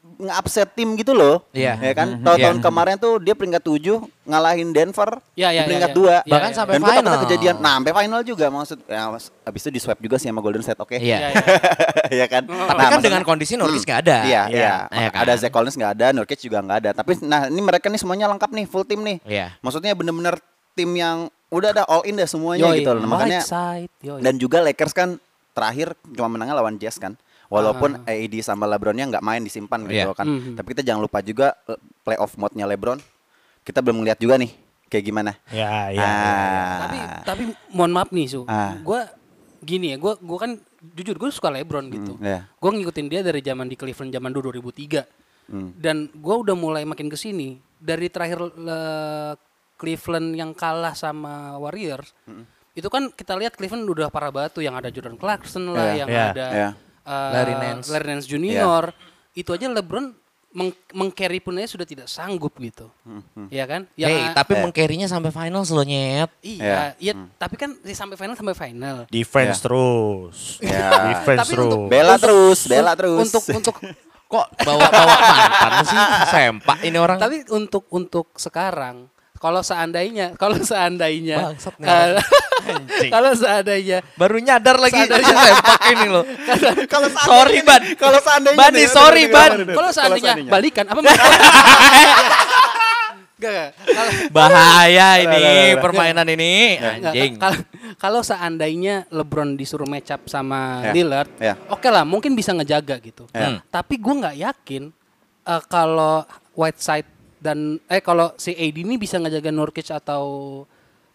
nge-upset tim gitu loh. Iya. Hmm, Ya kan? Mhm, Tahun iya. tahun kemarin tuh dia peringkat 7 ngalahin Denver Iya, iya, di iya, peringkat iya. 2. Iya, Bahkan iya, sampai Dan gua takutnya final. kejadian. Nah, sampai final juga maksud ya, mas- abis itu di swipe juga sih sama Golden State, oke. Iya. Iya, iya. ya kan. Tapi kan dengan kondisi Nurkic nggak ada. Iya, iya. Iya kan? Ada Zach Collins nggak ada, Nurkic juga nggak ada. Tapi nah ini mereka nih semuanya lengkap nih, full tim nih. Iya. Maksudnya bener-bener tim yang udah ada all in dah semuanya Yoi, gitu loh. Makanya right side, yoi. dan juga Lakers kan terakhir cuma menangnya lawan Jazz kan. Walaupun AD sama LeBronnya nggak main disimpan gitu Ah. Iya. loh kan. Mhm. Tapi kita jangan lupa juga eh, playoff mode-nya LeBron. Kita belum melihat juga nih kayak gimana. Iya, Ya, ya. Ah. tapi tapi mohon maaf nih su Ah. gue gini ya gue gua kan jujur gue suka LeBron gitu Hmm, iya. gue ngikutin dia dari zaman di Cleveland zaman dulu 2003 Hmm. dan gue udah mulai makin kesini dari terakhir le- Cleveland yang kalah sama Warriors Hmm. itu kan kita lihat Cleveland udah parah batu yang ada Jordan Clarkson lah Iya, yang iya, ada iya. eh, ya, Larry Nance. Larry Nance Junior itu aja LeBron meng- meng-carry pun aja sudah tidak sanggup gitu Hmm, ya kan Yang Hey, a- tapi eh. meng-carry-nya sampai final loh nyet. Iya, iya, Hmm. tapi kan di sampai final sampai final. Defense Ya. terus. Ya. Defense Tapi terus. untuk- Bela Untuk- terus, bela terus. Untuk untuk Kok bawa-bawa mantan sih sempak ini orang. tapi untuk untuk sekarang kalau seandainya kalau seandainya Bangsat nih kalau- Anjing. kalau seandainya baru nyadar lagi dia sempak ini loh. Kalau seandainya Sorry, nih, Ban. Kalau seandainya. Ban, nih, sorry, bener, Eh, Ban. bener, bener, kalau bener. seandainya balikan apa Gak, gak. Kalau- Bahaya ini permainan ini Nah, Nggak, anjing. kal- Kalau seandainya LeBron disuruh match up sama Ya, Lillard, ya. oke lah mungkin bisa ngejaga gitu. Ya. Tapi gue nggak yakin eh, kalau Whiteside dan eh kalau si AD ini bisa ngejaga Nurkic atau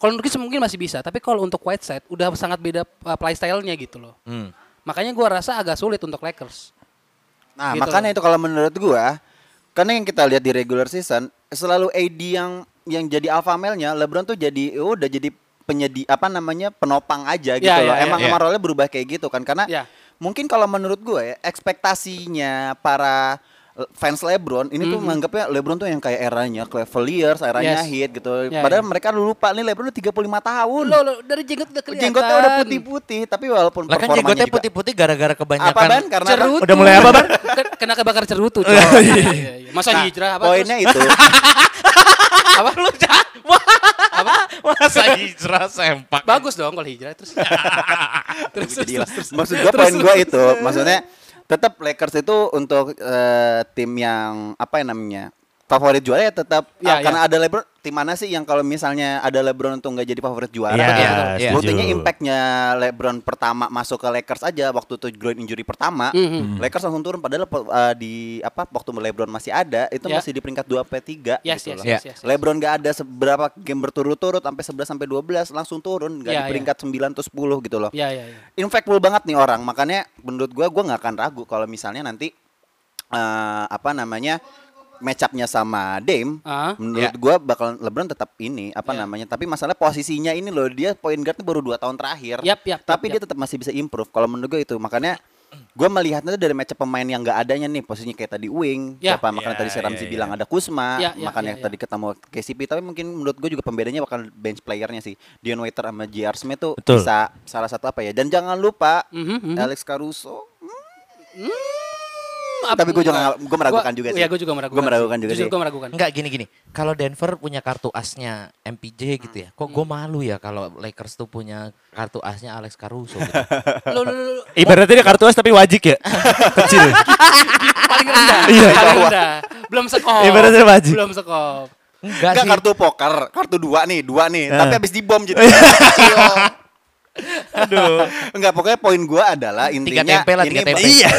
kalau Nurkic mungkin masih bisa, tapi kalau untuk Whiteside udah sangat beda eh, playstyle-nya gitu loh. Hmm. Makanya gue rasa agak sulit untuk Lakers. Nah, Gitu makanya itu kalau menurut gua karena yang kita lihat di regular season selalu AD yang yang jadi alpha male-nya, LeBron tuh jadi oh, udah jadi penyedi apa namanya penopang aja gitu Ya, loh. ya, ya, Emang ya. emang role-nya berubah kayak gitu kan karena Ya. mungkin kalau menurut gue ya, ekspektasinya para eh, fans LeBron ini tuh menganggapnya LeBron tuh yang kayak eranya Cavaliers, eranya Yes. Heat gitu. Ya, Padahal ya. mereka lupa nih LeBron udah 35 tahun. Lo, lo dari jenggot udah kelihatan. Jenggotnya udah putih-putih, tapi walaupun Lah kan performanya jenggotnya juga- putih-putih gara-gara Apa kan ban? kebanyakan Karena kan- apa? Cerutu. Udah mulai apa, Bar? Ken- Kena kebakar cerutu. coy. Iya, iya, iya. Masa Nah, hijrah apa? terus? poinnya itu. apa lu jahat masa hijrah sempak Bagus dong kalau hijrah terus. terus, Jadi hilang. Maksud gue poin gue itu, maksudnya tetap Lakers itu untuk eh, tim yang apa yang namanya favorit juara ya tetap Ya, ah, karena ada LeBron. Tim mana sih yang kalau misalnya ada LeBron untuk nggak jadi favorit juara? Iya, Betul, betul. betul. Iya. Buktinya setuju. impactnya LeBron pertama masuk ke Lakers aja waktu itu groin injury pertama, Mhm. Lakers langsung turun padahal eh, di apa waktu LeBron masih ada itu Ya. masih di peringkat 2 p 3 Yes, yes, gitu loh. Ya. yes, yes, yes. LeBron gak ada seberapa game berturut-turut sampai 11 sampai 12 langsung turun gak Ya, di ya. peringkat 9 atau 10 gitu loh Ya, ya, ya. impactful banget nih orang. Makanya menurut gua gua nggak akan ragu kalau misalnya nanti eh, apa namanya match-up-nya sama Dame. Ah. Menurut Iya. gua bakal LeBron tetap ini apa Ya. namanya. Tapi masalah posisinya ini loh dia point guardnya baru 2 tahun terakhir. Yap, yap, tapi yap, dia tetap masih bisa improve. Kalau menurut gua itu makanya gua melihatnya tuh dari match pemain yang nggak adanya nih posisinya kayak tadi wing Ya. siapa makanya Ya, tadi si ya, Ramzi ya. bilang ada Kusma Ya, ya, makanya ya, ya. tadi ketemu KCP tapi mungkin menurut gue juga pembedanya bakal bench playernya sih Dion Waiter sama JR Smith tuh Betul. bisa Sa- salah satu apa ya dan jangan lupa Mhm, mhm. Alex Caruso Hmm, tapi gue juga enggak. gue meragukan Gua- juga sih Iya, gue juga meragukan. gue meragukan juga Jujur sih gue meragukan. Enggak gini-gini. Kalau Denver punya kartu asnya MPJ gitu ya. Kok gue malu ya kalau Lakers tuh punya kartu asnya Alex Caruso. Gitu. Lo, lo, lo, lo, Ibaratnya dia kartu as tapi wajik ya. Kecil. paling rendah. Iya. paling rendah. Belum sekop. Ibaratnya wajib. Belum sekop. Enggak Enggak sih. kartu poker kartu dua nih dua nih Eh. tapi habis dibom jadi Aduh. Enggak pokoknya poin gue adalah intinya tempe lah, ini tiga tempe. Iya.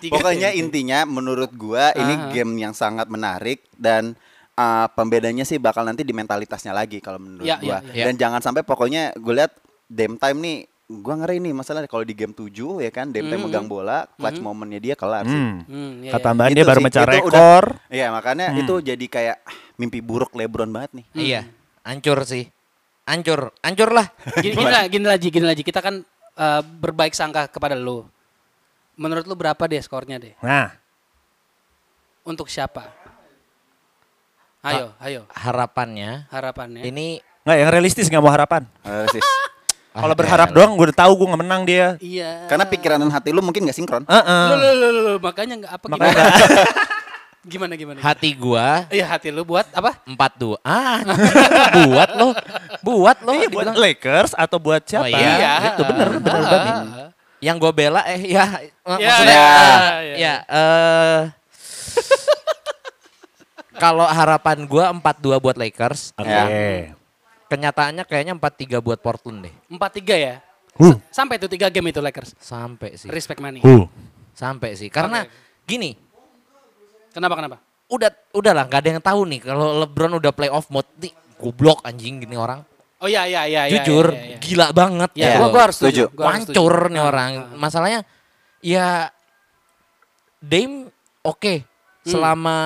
Tiga pokoknya tempe. intinya menurut gua ini Ah. game yang sangat menarik dan uh, pembedanya sih bakal nanti di mentalitasnya lagi kalau menurut Ya, gua. ya, ya. Dan jangan sampai pokoknya gue lihat game time nih gua ngeri nih masalahnya kalau di game 7 ya kan game time Hmm. megang bola clutch momennya dia kelar sih. Hmm. Hmm, iya, iya. Ketambahan Itu dia baru sih, mecah itu udah- rekor. Iya, makanya itu jadi kayak ah, mimpi buruk LeBron banget nih. Iya. Hancur sih. Hancur. Hancur lah. Gini, gini lah, gini lagi, gini lagi. Kita kan eh, berbaik sangka kepada lo. Menurut lo berapa deh skornya deh? Nah, Untuk siapa? Ayo, ayo. Harapannya Harapannya. ini nggak yang realistis nggak mau harapan. Eh, sis. Kalau berharap doang gue udah tahu gue nggak menang dia. Iya. Karena pikiran dan hati lu mungkin gak sinkron. Heeh. Lo, lo, lo, lo, lo, makanya nggak apa Makanya gimana? gimana gimana? hati gua Iya hati lu buat apa? empat dua. Ah, buat lo. Buat lo. Iya, buat Lakers atau buat siapa? Oh, iya. Itu bener, bener Ah, banget. ah, ah. Yang gue bela eh ya mak- Ya, maksudnya ya, eh, ya. ya eh, kalau harapan gua 4-2 buat Lakers. Oke. Ya. kenyataannya kayaknya 4-3 buat Portland deh. 4-3 ya. Huh. Sampai tuh 3 game itu Lakers. Sampai sih. Respect money. Huh. Sampai sih. Karena Oke. gini, Kenapa kenapa? udah udahlah nggak ada yang tahu nih kalau LeBron udah playoff mode nih goblok anjing gini orang. Oh iya iya iya iya, Jujur iya, iya, iya. gila banget Ya, gitu gua, loh. gua harus setuju. Setuju. Gua harus setuju. Wancur nih Ah, orang. ah. Masalahnya ya Dame oke Hmm. selama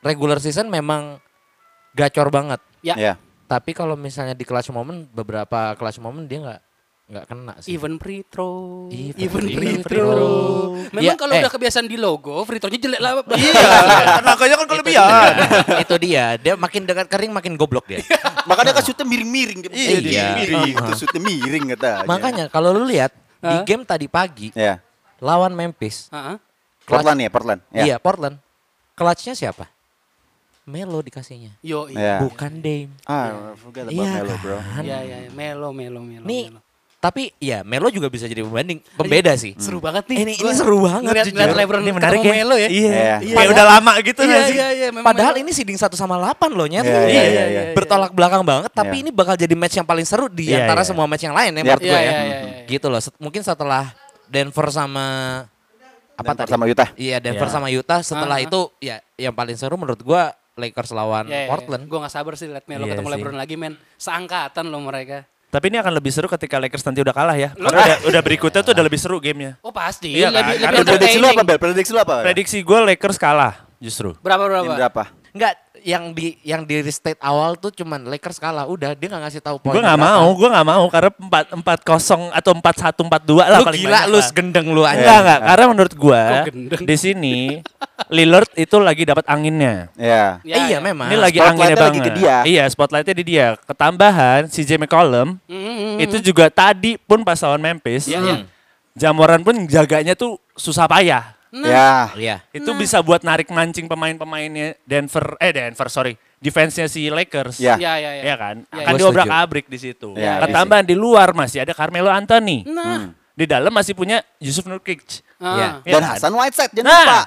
regular season memang gacor banget. Ya, Ya. Tapi kalau misalnya di clutch moment beberapa clutch moment dia nggak nggak kena sih. even free throw. Even Even free free throw. throw. Memang Ya, kalau eh. udah kebiasaan di logo, free throw-nya jelek lah. Iya, makanya kan kelebihan. itu dia, Iya, dia makin dekat kering makin goblok dia. Makanya kan shootnya miring-miring. Dia Iya, dia iya. miring. Iya. Itu shootnya miring katanya. Makanya kalau lu lihat di Hah? game tadi pagi Ya. lawan Memphis, Heeh. Clutch. Portland ya, Portland. Ya. iya Portland, clutchnya siapa? Melo dikasihnya, Yo, Ya. iya. bukan Dame. Ah, forget about Iya Melo, bro. kan? Iya iya, iya. melo melo melo. Nih, melo. tapi ya Melo juga bisa jadi pembanding, pembeda sih. Seru banget nih. Hmm. Ini, ini Gua seru banget ngeliat- jujur. ngeliat LeBron ini menarik ketemu ya. Melo ya. Iya. Iya. Kayak udah lama gitu Iya nggak sih? iya iya. memang Padahal Melo. ini seeding 1 sama 8 loh nyet. Iya, iya, iya, iya. Bertolak belakang banget tapi Iya. ini bakal jadi match yang paling seru di Iya, antara iya. semua match yang lain ya Iya. menurut gue Iya, ya. iya, iya, iya. Gitu loh. set- Mungkin setelah Denver sama apa Denver tadi? sama Utah. Iya, Denver Iya. sama Utah setelah Ah. itu ya yang paling seru menurut gua Lakers lawan Ya, Portland. Gue gak sabar sih liat Melo Iya ketemu sih. LeBron lagi men. Seangkatan loh mereka. Tapi ini akan lebih seru ketika Lakers nanti udah kalah ya. Karena udah, udah berikutnya tuh udah lebih seru gamenya. Oh pasti. Iya, lebih lebih kan? Karena Prediksi lu apa, entertaining. Bel? Prediksi lu apa? Bel? Prediksi gue Lakers kalah justru. Berapa Tim berapa? berapa? Enggak yang di yang di restate awal tuh cuman Lakers kalah udah dia nggak ngasih tahu poin. Gue nggak berapa. mau, gue nggak mau karena empat empat kosong atau empat satu empat dua lah Lu paling gila banyak lu lah. gendeng lu Enggak aja. enggak, karena menurut gue Kok gendeng? di sini Lillard itu lagi dapat anginnya. Ya. Ya, ya. iya memang. Ini lagi spotlightnya anginnya lagi banget. ke dia. Iya, spotlightnya di dia. Ketambahan si CJ McCollum Mm, mm, itu juga tadi pun pas lawan Memphis, Iya, iya. Jamoran pun jaganya tuh susah payah. Ya. Iya. Itu Hmm. bisa buat narik mancing pemain-pemainnya Denver, eh Denver sorry, defense-nya si Lakers. Ya. Iya iya iya. Iya kan? Iya, Akan iya. diobrak Setuju. abrik di situ. Iya, Ketambahan di luar masih ada Carmelo Anthony. Nah. Di dalam masih punya Yusuf Nurkic. Ah. Iya. Hmm. Iya Dan kan? Hasan Whiteside, jangan Nah. lupa.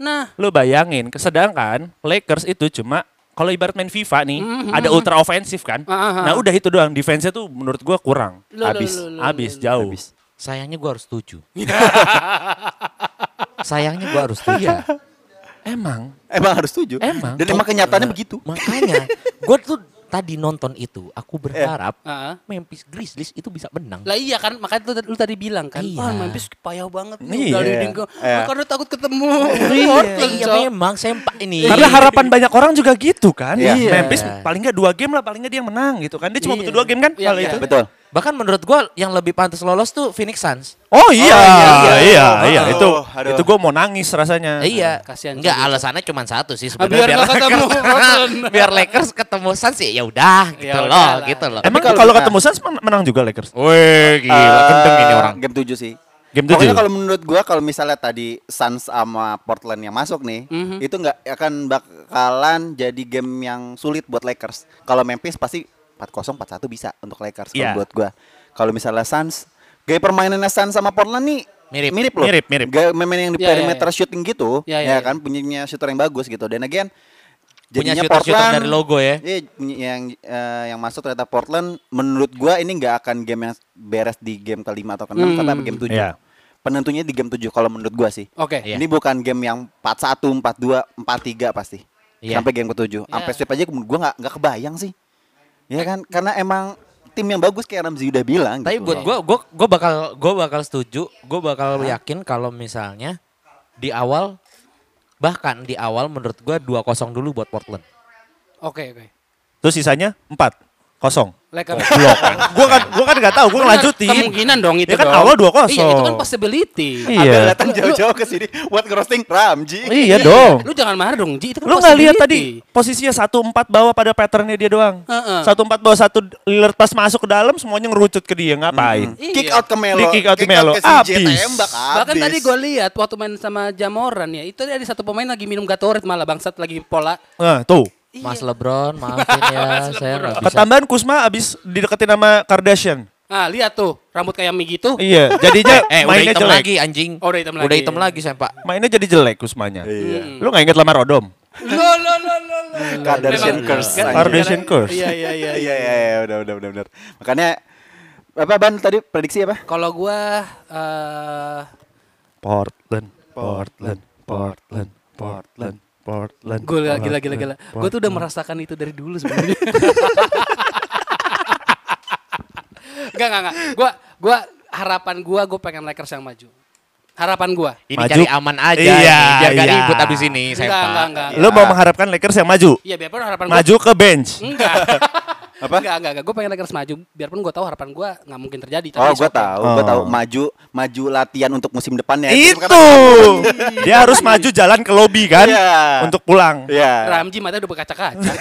Nah. Lu bayangin, sedangkan Lakers itu cuma kalau ibarat main FIFA nih, ada ultra ofensif kan. Hmm. Ah, ah, Nah, ah. Nah, udah itu doang. Defense-nya tuh menurut gua kurang. Lu, lu, Habis. lu, lu, lu, Habis lu. jauh. Habis. Sayangnya gua harus setuju. Sayangnya gua harus setuju. Emang Emang harus setuju. Emang. Dan emang kenyataannya begitu. Makanya gua tuh tadi nonton itu aku berharap Ah. Memphis Grizzlies itu bisa menang. Lah iya kan makanya lu, lu tadi bilang kan, Iya. wah Memphis payah banget nih Iya. udah leading ke- Iya. Lu Karena takut ketemu. Iya, Portland, iya Cok. memang sempak ini. karena harapan banyak orang juga gitu kan. Iya. Memphis paling nggak dua game lah, paling nggak dia menang gitu kan. Dia cuma Iya. butuh dua game kan Iya, kalau iya. itu. Betul. bahkan menurut gua yang lebih pantas lolos tuh Phoenix Suns. Oh iya, iya, iya, iya. iya, Aduh, itu aduh. itu gue mau nangis rasanya. iya, kasihan enggak juga. alasannya cuma satu sih Ah, biar sebenarnya nggak ketemu Portland. biar Lakers ketemu Suns ya ya udah gitu Ya loh, udahlah. gitu loh. Emang kalau kalau, kita- ketemu Suns men- menang juga Lakers. Eh, Wih, gila kenceng ini orang. Eh, Game 7 sih. Game Pokoknya 7. kalau menurut gua kalau misalnya tadi Suns sama Portland yang masuk nih, Mhm. itu nggak akan bakalan jadi game yang sulit buat Lakers. Kalau Memphis pasti 4-0 4-1 bisa untuk Lakers Iya. kalau buat gua. Kalau misalnya Suns, gaya permainannya Suns sama Portland nih Mirip. mirip loh. Mirip, mirip. Gaya main yang di Iya, iya, perimeter iya. shooting gitu, Iya, iya, ya iya. kan punyanya shooter yang bagus gitu. Dan again Punya jadinya shooter-shooter Portland dari logo ya. Iya, punya- yang eh, yang masuk ternyata Portland menurut gua ini nggak akan game yang beres di game kelima atau keenam sampai game 7. Iya. Penentunya di game 7 kalau menurut gua sih. Eh, Oke. Iya. Ini bukan game yang 4-1, 4-2, 4-3 pasti. Iya. Sampai game ke-7. Sampai sweep aja menurut gua nggak nggak kebayang sih. Ya kan? Karena emang tim yang bagus kayak Ramzi udah bilang Tapi gitu buat loh. gue, gue, gue bakal, gue bakal setuju, gue bakal yakin kalau misalnya di awal, bahkan di awal menurut gue 2-0 dulu buat Portland. Oke oke. Terus sisanya 4 kosong. Lakers. Gua kan gua kan enggak tahu, gua ngelanjutin. Kemungkinan dong itu Ya kan dong. awal 2-0. Iya itu kan possibility. Iya. Abel datang jauh-jauh ke sini buat ngerosting Ramji. Iya dong. Lu jangan marah dong Ji, itu kan Lu nggak lihat possibility. tadi posisinya satu empat bawah pada patternnya dia doang. Heeh. Satu empat bawah satu Lillard pas masuk ke dalam semuanya ngerucut ke dia ngapain? Kick Iya. out ke Melo. Di kick out ke Melo. si J, Abis. Tembak, Bahkan abis. tadi gue lihat waktu main sama Jamoran ya, itu ada satu pemain lagi minum Gatorade malah bangsat lagi pola. Nah, tuh. Mas Lebron, maafin ya, saya nggak bisa. Ketambahan Kusma abis dideketin sama Kardashian. Ah, lihat tuh, rambut kayak Mi gitu. Iya, jadinya eh, udah mainnya hitam jelek. lagi anjing. Oh, udah hitam Udah lagi. hitam lagi, Sempak. Iya. Mainnya jadi jelek Kusmanya. Lu nggak inget lama Rodom? Lo lo lo lo. lo. Kardashian Memang- curse. kan. Kar- anjing. Kardashian curse. Kan Iya iya iya. Iya iya iya iya, udah udah udah benar. Makanya apa ban tadi prediksi apa? Kalau gua eh Portland, Portland, Portland, Portland, Portland. gua gila Portland, gila gila. Gua tuh udah Portland. merasakan itu dari dulu sebenarnya. Enggak enggak enggak. Gua gua harapan gua gua pengen Lakers yang maju. Harapan gua. Ini Maju. cari aman aja Iya, nih, biar gak iya. ribut abis ini Enggak saya enggak enggak. Lo mau Iya. mengharapkan Lakers yang maju? Iya biarpun harapan gua Maju ke bench. Enggak. Apa? Enggak, enggak, enggak. Gue pengen Lakers maju. Biarpun gue tahu harapan gue nggak mungkin terjadi. tapi Oh, it's gue okay. tahu, gue Oh. tahu maju maju latihan untuk musim ya. depannya. Itu. Dia harus maju jalan ke lobi kan Iya. untuk pulang. Iya. Ramji mata udah berkaca-kaca.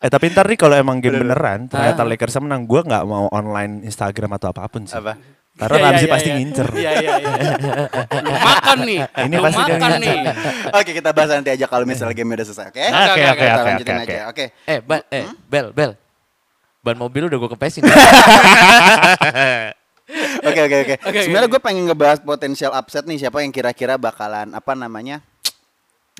Eh tapi ntar nih kalau emang Iya. game beneran Ah. ternyata Lakers menang, gue nggak mau online Instagram atau apapun sih. Apa? Karena Iya, iya, Ramzi iya, pasti iya. ngincer. Iya, iya, iya. Lu makan nih. Ini Lu pasti dia makan ngincer. nih. Oke, kita bahas nanti aja kalau misalnya game udah selesai, oke? Oke oke oke Kita oke, lanjutin oke. aja. Oke. Eh, bel, eh, bel, bel. Ban mobil udah gue kepesin. Iya. Oke oke oke. Oke, Sebenarnya oke. gue pengen ngebahas potensial upset nih siapa yang kira-kira bakalan apa namanya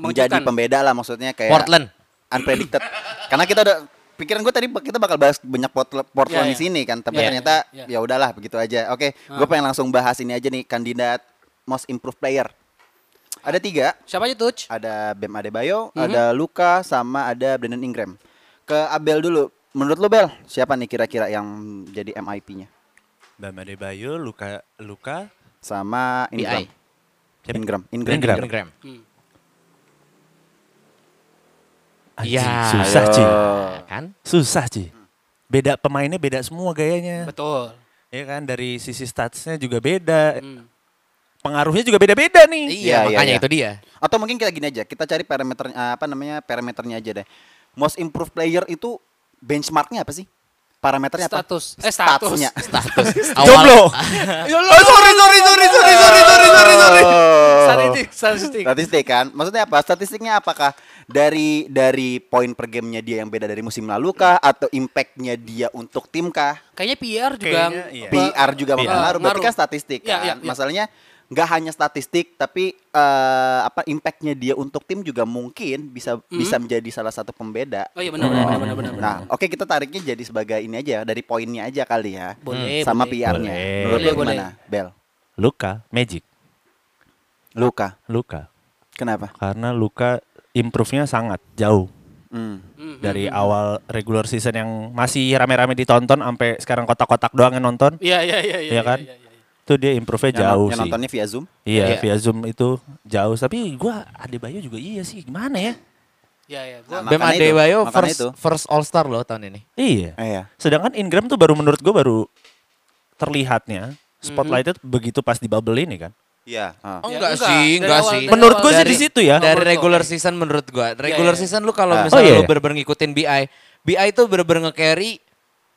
menjadi Mengejutkan. pembeda lah maksudnya kayak Portland. unpredicted. Karena kita udah pikiran gue tadi kita bakal bahas banyak Portl- Portland Iya, di iya. sini kan, Iya, tapi iya, ternyata iya. ya udahlah begitu aja. Oke, gue pengen langsung bahas ini aja nih kandidat most improved player. Ada tiga, Siapa aja Tuch? ada Bam Adebayo, ada Luka, sama ada Brandon Ingram. Ke Abel dulu. Menurut lo Bel, siapa nih kira-kira yang jadi MIP-nya? Bam Adebayo, Luka, Luka, Sama BI. Ingram. Siapa? Ingram. Ingram. Ingram. Hmm. Anjing, Ya, susah Ci. Kan? Susah Ci. Beda pemainnya beda semua gayanya. Betul. Iya kan dari sisi statsnya juga beda, Hmm. pengaruhnya juga beda-beda nih. Iya, Iya, iya, makanya iya. itu dia. Atau mungkin kita gini aja, kita cari parameter eh, apa namanya parameternya aja deh. Most improved player itu benchmarknya apa sih? Parameternya apa? Status. Eh, status. Statsnya. Status. Jomblo. Eh, Ya Allah. sorry sorry sorry sorry sorry sorry sorry sorry. Statistik, statistik. Statistik kan? Maksudnya apa? Statistiknya apakah dari dari poin per gamenya dia yang beda dari musim lalu kah atau impactnya dia untuk tim kah? Kayaknya PR juga. Kayaknya, iya. Ba- PR juga Iya. mempengaruhi. Berarti Ngaruh. kan statistik Iya, kan. iya, iya. Masalahnya nggak hanya statistik tapi eh, apa impactnya dia untuk tim juga mungkin bisa bisa menjadi salah satu pembeda. Hmm. Oh iya benar benar benar, benar benar. benar. Nah, oke kita tariknya jadi sebagai ini aja dari poinnya aja kali ya. Boleh, Sama boleh. PR-nya. Boleh. Menurut lu Boleh, boleh. gimana, Bel? Luka, Magic, Luka. Luka. Kenapa? Karena Luka improve-nya sangat jauh Hmm, Hmm. hmm. dari awal regular season yang masih rame-rame ditonton sampai sekarang kotak-kotak doang yang nonton. Iya, iya, iya, iya. Iya kan? iya, iya, iya. Itu dia improve-nya Yang- jauh yang sih. nontonnya via Zoom. Iya, Iya. via Zoom itu jauh. Tapi gua Adebayo juga iya sih, gimana ya? Iya, iya. Gua Nah, Bam makanya itu, Adebayo makanya first itu. first All Star loh tahun ini. Iya. Eh, iya. Sedangkan Ingram tuh baru menurut gua baru terlihatnya spotlightnya begitu pas di bubble ini kan. Iya. ah. Oh, Ya, enggak, enggak. sih, Dari enggak awal- sih. dari Menurut gue awal sih dari- di situ ya. Dari Dari menurut regular gua. season menurut gua. Regular iya. season lu kalau Ah. misalnya Oh, iya, lu iya. bener-bener ngikutin BI, BI itu bener-bener nge-carry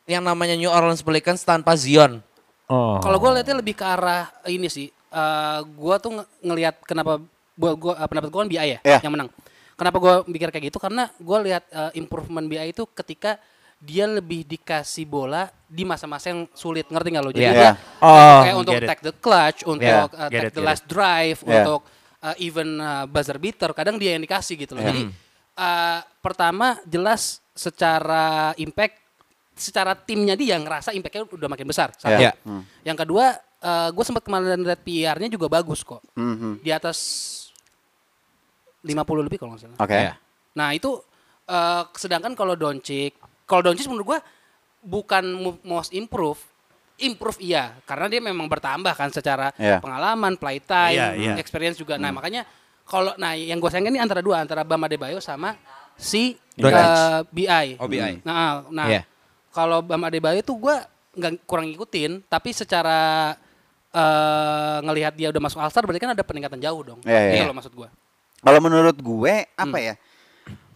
yang namanya New Orleans Pelicans tanpa Zion. Oh. Kalau gue lihatnya lebih ke arah ini sih. eh gue tuh nge- ngelihat kenapa gua, gua eh, pendapat gue kan BI ya Iya. yang menang. Kenapa gue mikir kayak gitu? Karena gue lihat eh, improvement BI itu ketika dia lebih dikasih bola di masa-masa yang sulit. Ngerti nggak lo? Jadi Iya. dia Iya. Oh, kayak untuk get it. take the clutch, untuk eh, Yeah, get take it, the get last drive, Yeah. untuk eh, even eh, buzzer beater. Kadang dia yang dikasih gitu loh. Hmm. Jadi eh, pertama jelas secara impact secara timnya dia ngerasa impactnya udah makin besar. Satu. Iya. Yang kedua, gue sempat kemarin lihat PR-nya juga bagus kok. Mhm. Di atas 50 lebih kalau nggak salah. Oke. Iya. Nah itu, eh, sedangkan kalau Doncic, kalau Doncic menurut gue bukan mo- most improve, improve iya. Karena dia memang bertambah kan secara Iya. Hmm. pengalaman, play time, Iya, iya. experience juga. Nah makanya kalau, nah yang gue sayangkan ini antara dua, antara Bam Adebayo sama si Doncic. eh, BI. Oh, BI. Nah, nah Iya. kalau Bam Adebayo tuh gue nggak kurang ngikutin, tapi secara eh, ngelihat dia udah masuk All-Star berarti kan ada peningkatan jauh dong. Iya, iya, Gitu iya. loh maksud gue. Kalau menurut gue apa Hmm. ya?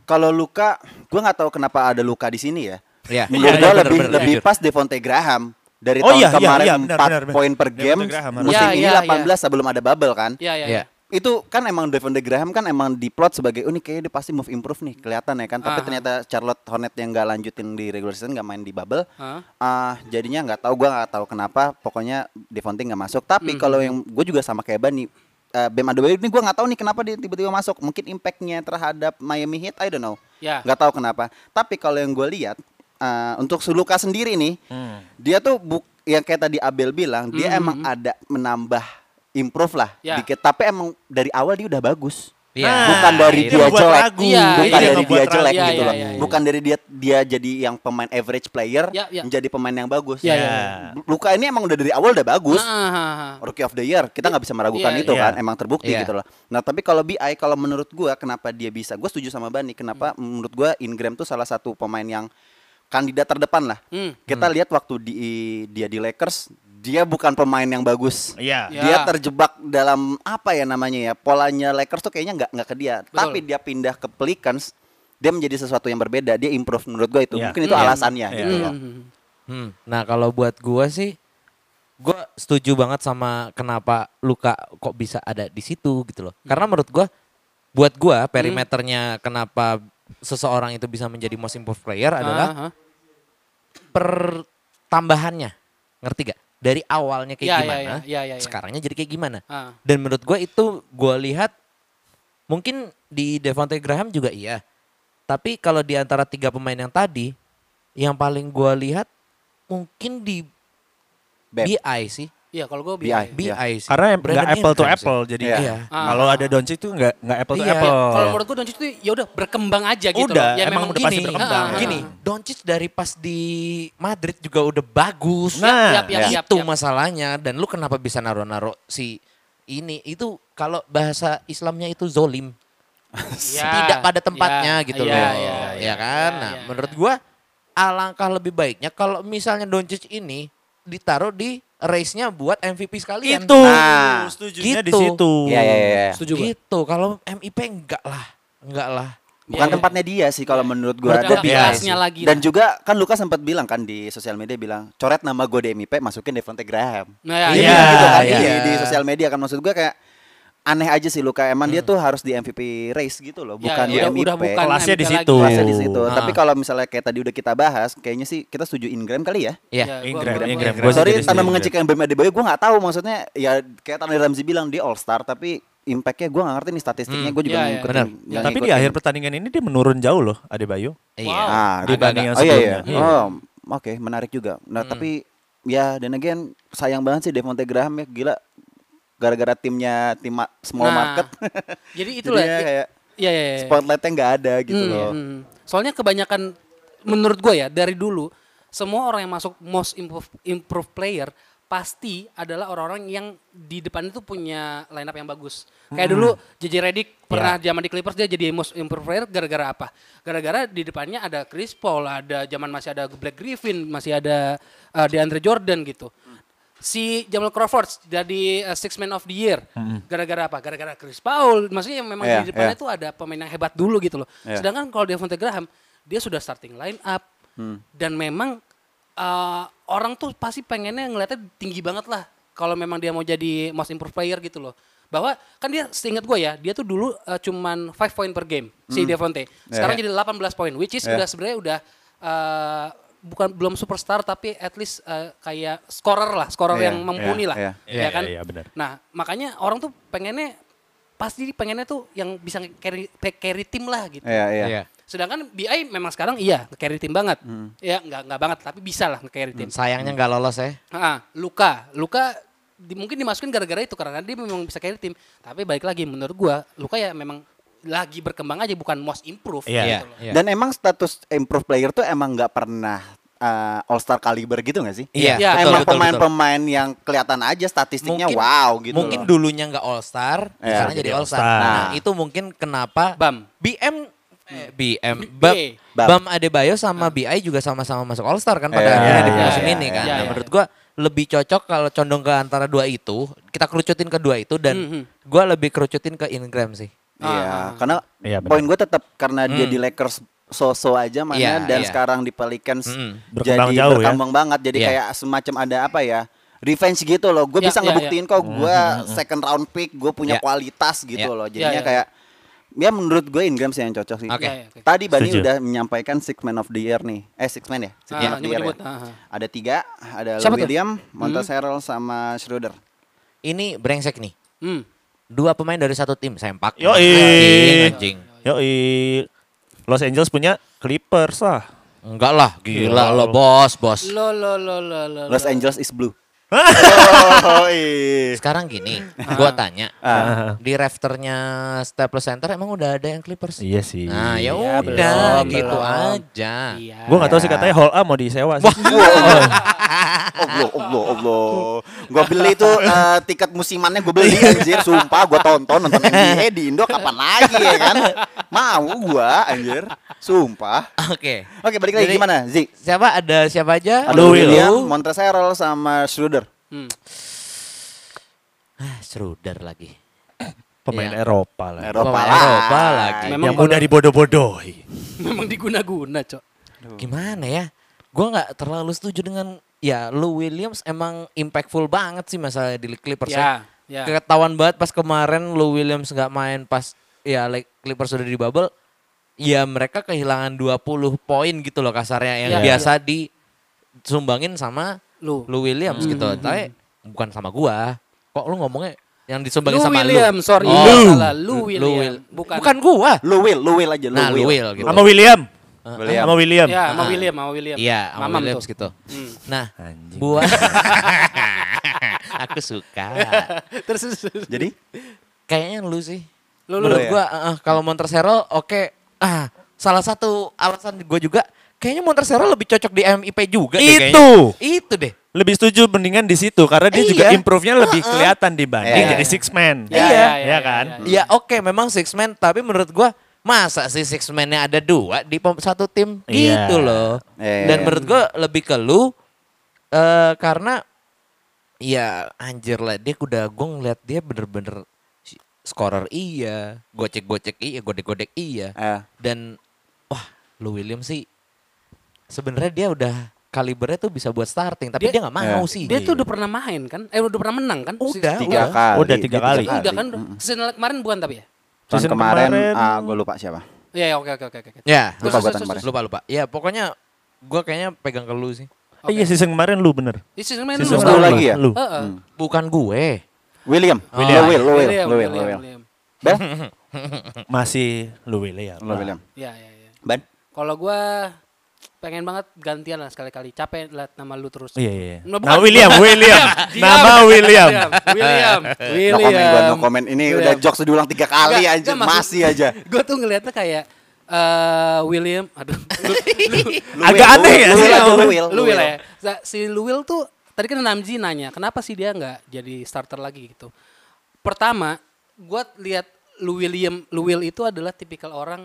Kalau luka, gue nggak tahu kenapa ada luka di sini ya. Iya. Menurut Iya, gue iya, lebih bener, bener, lebih jujur. pas Devonte Graham dari Oh tahun iya, iya, kemarin iya, benar, 4 benar, benar. poin per Devonte game, Graham harus. musim Iya, ini iya, 18 sebelum ada bubble kan. Iya, iya. Iya. iya. Itu kan emang Devonte Graham kan emang diplot sebagai unik kayaknya dia pasti move improve nih kelihatan ya kan. Tapi Aha. ternyata Charlotte Hornet yang nggak lanjutin di regular season nggak main di bubble. Hah? Ah, jadinya Mhm. nggak tahu gue nggak tahu kenapa pokoknya Devonte nggak masuk. Tapi kalau yang gue juga sama kayak Bani eh, Bam Adebayo ini gue nggak tahu nih kenapa dia tiba-tiba masuk. Mungkin impactnya terhadap Miami Heat, I don't know. Ya. Nggak tahu kenapa. Tapi kalau yang gue lihat eh, untuk Suluka sendiri nih, dia tuh buk yang kayak tadi Abel bilang, dia emang ada menambah improve lah Mhm. Ya. dikit. Tapi emang dari awal dia udah bagus. Iya. bukan dari Itu dia yang jelek, ragu. Iya, bukan itu yang dari dia ngebuat jelek ragu. gitu Iya, loh. iya, iya. Bukan dari dia dia jadi yang pemain average player Ya, ya. menjadi pemain yang bagus. Ya, ya, ya. Luka ini emang udah dari awal udah bagus. Ah, ah, ah. Rookie of the Year kita nggak bisa meragukan Iya, itu iya. kan emang terbukti Iya. gitu loh. Nah tapi kalau BI kalau menurut gua kenapa dia bisa? Gue setuju sama Bani. Kenapa Hmm. menurut gua Ingram tuh salah satu pemain yang kandidat terdepan lah. Hmm. Kita lihat waktu di dia di Lakers dia bukan pemain yang bagus. Iya. Iya. Dia terjebak dalam apa ya namanya ya polanya Lakers tuh kayaknya nggak nggak ke dia. Betul. Tapi dia pindah ke Pelicans dia menjadi sesuatu yang berbeda. Dia improve menurut gua itu. Iya. Mungkin itu Iya. alasannya Iya. gitu loh. Hmm. Hmm. Nah kalau buat gua sih, gua setuju banget sama kenapa Luka kok bisa ada di situ gitu loh. Karena menurut gua, buat gua perimeternya kenapa seseorang itu bisa menjadi most improved player adalah Ah, ah. pertambahannya, ngerti gak? Dari awalnya kayak Ya, ya, gimana, ya, ya, ya, ya. sekarangnya jadi kayak gimana? Ah. Dan menurut gua itu gua lihat mungkin di Devontae Graham juga iya. Tapi kalau di antara tiga pemain yang tadi, yang paling gua lihat mungkin di Bam. BI sih. Iya, kalau gue BI. BI Iya. sih. Karena em- nggak Brandon apple to Ingram sih. apple jadi Iya. Iya. kalau ada Doncic tuh nggak nggak apple to Iya. apple. Kalau menurut gue Doncic itu ya udah berkembang aja gitu Oh, Udah, loh. Ya emang udah pasti Gini, berkembang. Ah, ah. gini, Doncic dari pas di Madrid juga udah bagus. Nah, Yap, yap, yap, itu yap. masalahnya dan lu kenapa bisa naruh-naruh si ini itu kalau bahasa Islamnya itu zolim. Ya, tidak pada tempatnya ya, gitu ya, loh. Ya, ya, ya, kan? ya, nah, ya, menurut ya. gua alangkah lebih baiknya kalau misalnya Doncic ini ditaruh di race-nya buat MVP sekalian. itu Nah, setujunya di gitu. situ. Iya iya iya. Setuju gue. Gitu. Kalau MIP enggak lah. Enggak lah. Bukan Iya, iya. tempatnya dia sih kalau menurut gua. Menurut gua Ada kelasnya lagi Dan lah. juga kan Lukas sempat bilang kan di sosial media bilang coret nama gue di MIP masukin Devonte Graham. Nah, ya, Dia Iya, bilang gitu kan iya. di, di sosial media kan maksud gue kayak aneh aja sih Luka emang dia tuh harus di MVP race gitu loh, Ya, bukan ya, di MIP. udah bukan MIP Kelasnya di lagi. situ. Kelasnya di situ. Ah. Tapi kalau misalnya kayak tadi udah kita bahas, kayaknya sih kita setuju Ingram kali Ya, Ya. ya. gua- iya. Ingram, gua- Ingram. gua- Gua Sorry, jadi tanpa setuju. mengecilkan Bam Adebayo, gue nggak tahu maksudnya ya kayak Tanah Ramzi bilang dia All Star, tapi impactnya gue nggak ngerti nih statistiknya, gue juga Iya, nggak iya. ngikutin. Benar. nggak Ya, Tapi di ngikutin. akhir pertandingan ini dia menurun jauh loh Adebayo. Iya. Ah, Agak-agak. dibanding yang Oh iya iya. sebelumnya. Oh, oke, menarik juga. Nah, tapi ya dan again sayang banget sih Devonte Graham ya gila gara-gara timnya tim ma- small Nah, market. Jadi Jadi itulah. ya kayak Iya, iya, iya. spotlightnya nggak ada gitu Hmm, loh. hmm. Soalnya kebanyakan menurut gue ya dari dulu semua orang yang masuk most improve, improve player pasti adalah orang-orang yang di depan itu punya line up yang bagus. Kayak Hmm. dulu JJ Redick pernah Iya. zaman di Clippers dia jadi most improved player gara-gara apa? Gara-gara di depannya ada Chris Paul, ada zaman masih ada Black Griffin, masih ada uh, DeAndre Jordan gitu. Si Jamal Crawford jadi uh, Six Man of the Year. Gara-gara apa? Gara-gara Chris Paul. Maksudnya yang memang Hmm. Iya, di depannya iya. tuh ada pemain yang hebat dulu gitu loh. Iya. Sedangkan kalau Devonte Graham dia sudah starting line up Hmm. dan memang uh, orang tuh pasti pengennya ngeliatnya tinggi banget lah kalau memang dia mau jadi most improved player gitu loh. Bahwa kan dia seingat gue ya, dia tuh dulu uh, cuman 5 point per game si Devonte. Sekarang jadi 18 point which is Hmm. Iya. udah sebenarnya udah uh, bukan belum superstar tapi at least uh, kayak scorer lah, scorer Iya, yang mumpuni iya, lah. iya. Iya, Ya kan? iya, iya, benar. Nah, makanya orang tuh pengennya pasti pengennya tuh yang bisa carry carry tim lah gitu. Iya iya. Iya. Sedangkan BI memang sekarang iya carry tim banget. Ya nggak nggak banget tapi bisa lah carry tim. Sayangnya nggak lolos ya. Ah, Luka, Luka di- mungkin dimasukin gara-gara itu karena dia memang bisa carry tim. Tapi balik lagi menurut gua Luka ya memang lagi berkembang aja bukan most improve Iya. Iya. gitu loh. Iya. Dan emang status improve player tuh emang nggak pernah eh, All Star caliber gitu nggak sih? Iya, Iya, betul, emang betul, betul. pemain-pemain yang kelihatan aja statistiknya wow gitu Mungkin loh. dulunya nggak all star, Iya. sekarang jadi all star. All-Star. Nah, itu mungkin kenapa Bam. BM eh, BM Bam, Bam. Bam Adebayo sama BI juga sama-sama masuk all star kan pada Iya, akhirnya di iya, musim iya, ini iya, kan. iya, Nah, iya. menurut gua lebih cocok kalau condong ke antara dua itu, kita kerucutin ke dua itu dan Mhm. gua lebih kerucutin ke Ingram sih. Iya, Ah. Hmm. karena Iya, benar. poin gue tetap karena dia di Lakers so-so aja mainnya Iya, dan iya. sekarang di Pelicans Hmm, Mm-mm. Berkembang jadi jauh ya. berkembang banget. Jadi Iya. kayak semacam ada apa ya? Revenge gitu loh. Gue Iya, bisa iya, ngebuktiin kok gue Hmm, second round pick, gue punya Iya. kualitas gitu Iya. loh. Jadinya Iya, iya. kayak ya menurut gue Ingram sih yang cocok sih. Oke. Iya, iya, oke. Tadi Bani Setuju. udah menyampaikan six man of the year nih. Eh six man ya? Six Ah, man of the year. nyebut-nyebut. ya? Ah, ah. Ada tiga, ada Lou Siapa tuh? Hmm. William, Montrezl Harrell sama Schroeder. Ini brengsek nih. Hmm. Dua pemain dari satu tim sempak. Yoi. Anjing, anjing. Yoi. Los Angeles punya Clippers lah. Enggak lah, gila Gila lo lo. bos, bos. Lo lo lo lo lo. lo. Los Angeles is blue. oh, iya. Sekarang gini, gua tanya. Ah. Di rafternya Staples Center emang udah ada yang Clippers? Iya sih. Nah, Iya, ya udah belum, gitu belum. aja. Iya. Gue gak tahu sih katanya Hall A mau disewa sih. Allah, Allah, Allah. Gue beli itu eh, tiket musimannya gue beli anjir. Sumpah gue tonton nonton NBA di Indo kapan lagi ya kan? Mau gue anjir. Sumpah. Oke. Oke balik lagi Jadi- gimana Zi? Siapa ada siapa aja? Ada Lou Will. William, Montrezl sama Schroeder. Hmm. Ah, Schroeder lagi. Pemain Iya. Eropa lah. Eropa, Pemain lah. Eropa lagi. Memang Yang mudah dibodoh-bodohi. Memang diguna-guna, Cok. Gimana ya? Gua nggak terlalu setuju dengan ya Lou Williams emang impactful banget sih masalah di Clippers ya. Ya, ya. Ketahuan banget pas kemarin Lou Williams nggak main pas ya like Clippers sudah di bubble. Ya mereka kehilangan 20 poin gitu loh kasarnya yang Iya, biasa disumbangin sama Lu. Lou Williams gitu. Hmm. Tapi bukan sama gua. Kok lu ngomongnya yang disumbangin Lou sama Williams, lu? sorry. Oh, Lu. salah. Lu Williams. Will. Bukan. Bukan. gua. Lu Will, Lu Will aja. Lu Nah, Lou Will gitu. Sama William. William. Sama William. Ya, sama Ah. William, sama William. Iya, sama Mamam Williams tuh. gitu. Hmm. Nah, Anjing. buat aku suka. Terus terus. Jadi? Kayaknya lu sih. Lu, lu, Menurut lu ya? gua eh, eh, kalau Montrezl oke. Ah, salah satu alasan gua juga kayaknya Montrezl lebih cocok di MIP juga deh kayaknya. Itu. Itu deh. Lebih setuju mendingan di situ karena dia Iya. juga improve-nya lebih kelihatan dibanding Iya. jadi six man. Iya. Iya kan? Ya oke memang six man tapi menurut gua masa sih six man-nya ada dua di pem- satu tim Iya. gitu loh. Iya, Dan iya. menurut gua lebih ke lu eh, karena ya anjir lah dia udah gua ngeliat dia bener-bener si- scorer iya, gocek-gocek iya, godek-godek iya. Eh. Dan wah, lu William sih sebenarnya dia udah kalibernya tuh bisa buat starting tapi Dia- dia nggak mau Iya. sih. Dia tuh udah pernah main kan? Eh udah pernah menang kan? Udah, Si- Udah. Tiga kali. Udah tiga Dia kali. Udah kan? Mm-mm. Season kemarin bukan tapi ya? Tahun Season kemarin, kemarin- ah, gue lupa siapa. Iya, ya, oke oke oke oke. Terus, ya, Lupa gua terus, tahun kemarin. lupa lupa. Ya pokoknya gua kayaknya pegang ke lu sih. Eh, Iya season kemarin lu bener. Ini season kemarin Season lu kemarin lagi ya? Lu. Heeh. Bukan gue. William, William. Lu Will, Lu Will, Lu Will, Lu Will. Ben, Masih lu William. Lu William. Iya, iya, iya. Ben, Kalau gua pengen banget gantian lah sekali-kali. Capek liat nama lu terus. Iya, iya. Nah, bukan. Nah, William, William. Diam. Nama William. William. William. no comment gue, no comment. Ini William. udah jokes diulang tiga kali aja, masih aja. Gue tuh ngeliatnya kayak eh William, aduh, lu, Lu Agak Will, aneh Lu- ya Lu sih? Will aja, Lu Will, Iya, Lu Will ya. Nah, Si Luwil tuh tadi kan Namji nanya, kenapa sih dia nggak jadi starter lagi gitu? Pertama, gua lihat Lu William, Lu Will itu adalah tipikal orang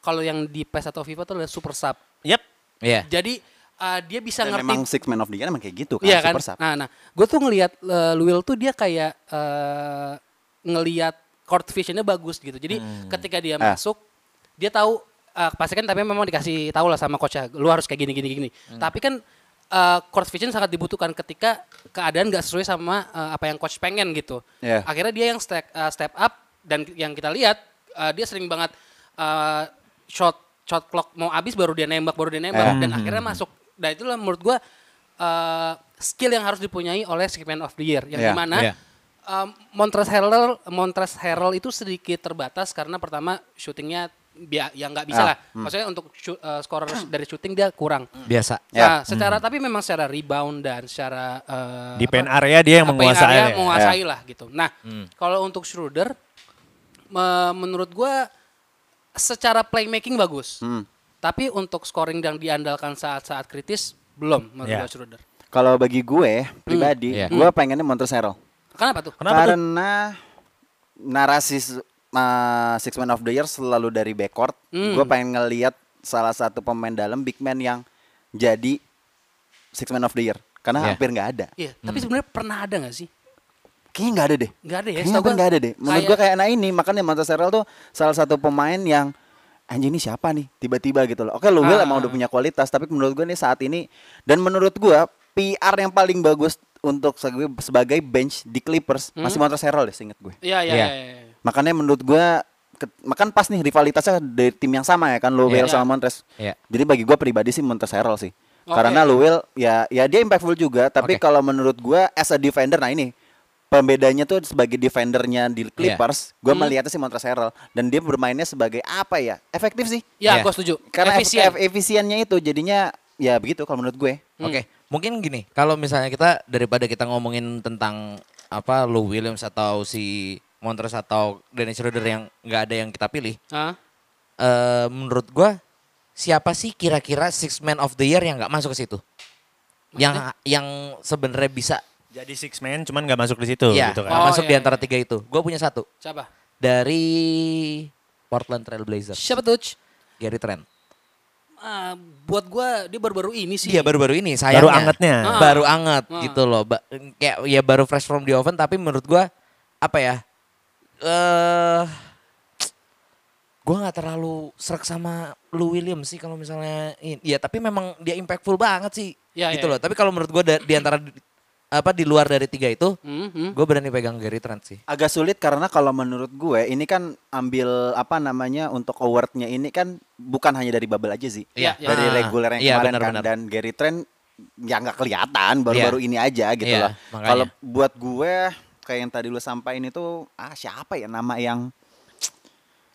kalau yang di PES atau FIFA tuh adalah super sub. Yep. Iya. Jadi eh, dia bisa Dan ngerti memang six man of the year emang kayak gitu kan, Iya kan? super sub. Nah, nah, gue tuh ngelihat eh, Luwil tuh dia kayak eh, ngelihat court visionnya bagus gitu. Jadi ketika dia Ah. masuk, dia tahu eh, pasti kan tapi memang dikasih tahu lah sama coachnya, lu harus kayak gini gini gini. Hmm. Tapi kan eh, court vision sangat dibutuhkan ketika keadaan gak sesuai sama eh, apa yang coach pengen gitu. Iya. Akhirnya dia yang step, eh, step up dan yang kita lihat eh, dia sering banget eh, shot shot clock mau habis baru dia nembak baru dia Eh. nembak dan akhirnya masuk. Dan itulah menurut gua eh, skill yang harus dipunyai oleh segmen of the year yang Iya, dimana iya. um, Montrezl Harrell Montrezl Harrell itu sedikit terbatas karena pertama syutingnya bia- yang nggak bisa Ah, Hmm. lah maksudnya untuk shu- eh, scorer dari syuting dia kurang Biasa. Ya. Nah, secara tapi memang secara rebound dan secara eh, Di pen apa- area dia yang apa yang menguasai. area ya. menguasai lah gitu nah kalau untuk Schroeder me- menurut gua secara playmaking bagus tapi untuk scoring yang diandalkan saat-saat kritis belum menurut Ya. gua Schroeder Kalau bagi gue pribadi, Iya. gue pengennya Montrezl. kenapa tuh Kenapa tuh? Karena narasi s- uh, six man of the year selalu dari backcourt. Gue pengen ngeliat salah satu pemain dalam big man yang jadi six man of the year. Karena Iya. hampir nggak ada. Iya, tapi sebenarnya pernah ada nggak sih? Kayaknya nggak ada deh. Nggak ada ya, Kayaknya setahu hampir gua nggak ada deh. Menurut gue kayak- kayak nah ini makanya Montrezl tuh salah satu pemain yang anjing ini siapa nih tiba-tiba gitu loh. Oke, lu Ah. Will emang udah punya kualitas, tapi menurut gue nih saat ini dan menurut gue PR yang paling bagus untuk sebagai- sebagai bench di Clippers masih Montrezl deh, seinget gue. Hmm. Iya, iya, Iya. iya. iya. Makanya menurut gua ke- makan pas nih rivalitasnya dari tim yang sama ya kan Iya. Lowell sama Montres. Iya. Jadi bagi gua pribadi sih Montres Harrell sih. Oke. Karena Lowell ya ya dia impactful juga tapi Oke. kalau menurut gua as a defender nah ini pembedanya tuh sebagai defendernya Iya. di Clippers, gua Hmm. melihatnya sih Montrezl Harrell dan dia bermainnya sebagai apa ya? Efektif sih. Ya, Ya. gua setuju. Karena Efisien. efisien. efisiennya itu jadinya ya begitu kalau menurut gue. Oke, mungkin gini, kalau misalnya kita daripada kita ngomongin tentang apa Lou Williams atau si Montrezl atau Dennis Schroeder yang nggak ada yang kita pilih, Hah? eh, menurut gua siapa sih kira-kira six man of the year yang nggak masuk ke situ? Yang yang sebenarnya bisa Jadi six man cuman nggak masuk di situ ya gitu nggak kan. Oh, masuk iya, di antara iya. tiga itu. Gua punya satu Siapa? dari Portland Trail Blazers, Siapa tuh? Gary Trent. Ah, buat gua dia baru-baru ini sih. Iya baru-baru ini sayangnya. Baru angetnya. Ah. Baru anget Ah. gitu loh. Ba- kayak ya baru fresh from the oven tapi menurut gua apa ya? Eh gua nggak terlalu serak sama Lou Williams sih kalau misalnya in- ya tapi memang dia impactful banget sih Ya, gitu ya. loh. Tapi kalau menurut gua da- di antara di- apa di luar dari tiga itu Hmm, hmm. gua berani pegang Gary Trent sih. Agak sulit karena kalau menurut gue ini kan ambil apa namanya untuk awardnya ini kan bukan hanya dari bubble aja sih. Iya. Ya. Dari Ah, reguler yang iya, kemarin benar, kan benar. dan Gary Trent ya nggak kelihatan baru-baru ini aja gitu Iya, loh. makanya. Kalau buat gue kayak yang tadi lu sampaikan itu ah siapa ya nama yang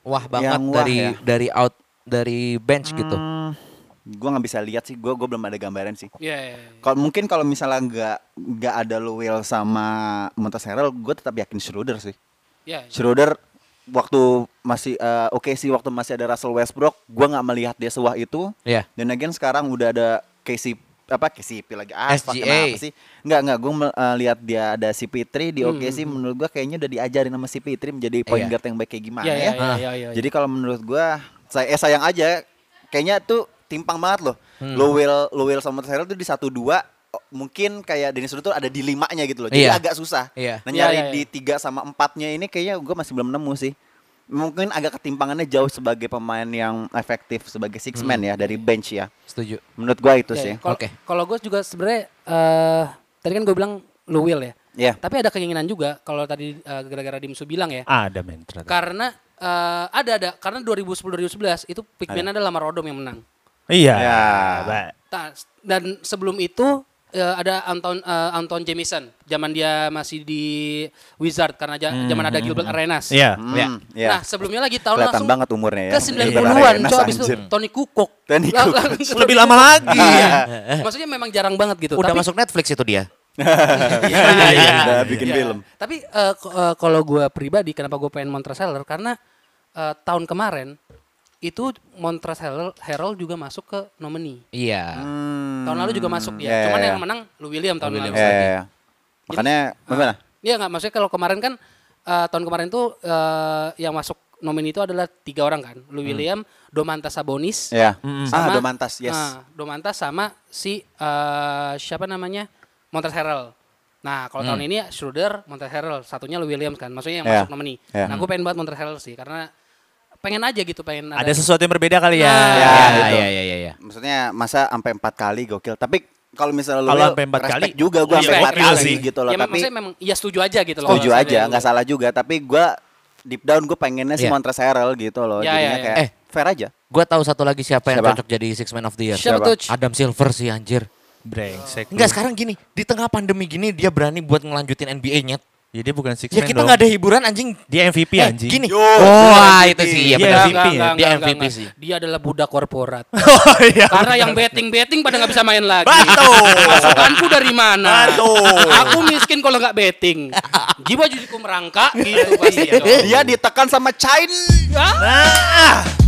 Wah banget wah dari ya. dari out dari bench gitu. hmm, gue nggak bisa lihat sih gue gue belum ada gambaran sih Iya, iya, iya. kalau mungkin kalau misalnya nggak nggak ada Lowell sama Montrezl Harrell gue tetap yakin Schroeder sih Iya, iya. Schroeder waktu masih eh, oke sih waktu masih ada Russell Westbrook gue nggak melihat dia sewah itu Iya. dan again sekarang udah ada KC apa KCP lagi ah fuck, SGA. kenapa sih nggak nggak gue lihat dia ada si Pitri di OKC menurut gue kayaknya udah diajarin sama si Pitri menjadi point Hmm. Iya. guard yang baik kayak gimana Iya, ya, iya, iya, iya, iya, iya. jadi kalau menurut gue saya eh, sayang aja kayaknya tuh timpang banget loh Hmm. Lowell Lowell sama Terrell tuh di satu dua oh, mungkin kayak Dennis Rodman tuh ada di limanya gitu loh jadi Iya. agak susah Iya. Nah, Iya, nyari iya, iya. di tiga sama empatnya ini kayaknya gue masih belum nemu sih. Mungkin agak ketimpangannya jauh sebagai pemain yang efektif sebagai six man ya dari bench ya. Setuju. Menurut gue Hmm. itu Iya, sih. iya. Kalau- Oke. Kalau gue juga sebenarnya eh tadi kan gue bilang lu will ya. Iya. Tapi ada keinginan juga kalau tadi eh, gara-gara Dimsu bilang ya. Ada men ternyata. Karena eh, ada ada karena 2010 2011 itu Pigmen ada Lamar Odom yang menang. Iya. Ya. Ba- Ta- Dan sebelum itu eh, ada Anton eh, Anton Jamison zaman dia masih di Wizard karena ja- zaman ada Gilbert Arenas. Iya. Iya. Hmm, ya. Nah, sebelumnya lagi tahun hmm, kelihatan langsung banget umurnya ya. Iya, ke Gilbert 90-an Arenas, coba abis itu anjir. Tony Kukoc. Tony Lang- Kukoc. langsung- Lebih lama lagi. Maksudnya memang jarang banget gitu. Iya. Udah tapi, masuk Netflix itu dia. Iya, iya, iya. Udah bikin film. Tapi eh, k- eh, kalau gue pribadi kenapa gue pengen Montrezl Harrell? karena eh, tahun kemarin itu Montrezl Harrell- Harrell juga masuk ke nomini. Iya. Tahun lalu juga masuk dia. iya, Cuman iya. yang menang Lou William tahun lalu. Williams. Ya, ya, ya. Makanya gimana? Iya nggak maksudnya kalau kemarin kan eh, tahun kemarin tuh eh, yang masuk nomini itu adalah tiga orang kan, Lou Hmm. William, Domantas Sabonis, Iya. Ya. Ah, Hmm. sama- Domantas, yes. ah, Domantas sama si eh, siapa namanya Montrezl Harrell. Nah kalau Hmm. tahun ini ya Schroeder, Montrezl Harrell, satunya Lou Williams kan, maksudnya yang Iya. masuk nomini. Iya. Nah gue pengen banget Montrezl Harrell sih karena pengen aja gitu pengen Ada sesuatu yang berbeda kali ya. Nah. Ya, gitu. iya, iya, iya, iya. Maksudnya masa sampai empat kali gokil. Tapi kalau misalnya lu Kalau Will, sampai empat respect kali, juga gue iya, sampai empat gokil kali sih. gitu loh. Ya, Tapi maksudnya memang ya setuju aja gitu loh. setuju kalau aja misalnya nggak salah juga tapi gua deep down gue pengennya si Iya. Montrezl Harrell gitu loh Ya, jadinya ya, ya. kayak Eh. fair aja Gue tahu satu lagi siapa yang Siapa? cocok jadi six man of the year. Siapa, Siapa? tuh? Adam Silver sih anjir. Brengsek. Enggak sekarang gini, di tengah pandemi gini dia berani buat ngelanjutin NBA-nya. Jadi dia bukan six Ya man kita dong. nggak ada hiburan anjing. Dia MVP Eh, anjing. Gini. Yo, Wah, dia itu MVP. sih iya Dia benar. MVP ya? Dia enggak, MVP enggak. sih. Dia adalah budak korporat. oh iya. Karena yang betting-betting pada nggak bisa main lagi. Betul. Masukanku dari mana? Betul. Aku miskin kalau nggak betting. Jiwa jujuku merangkak gitu pasti. dong. dia ditekan sama China Nah.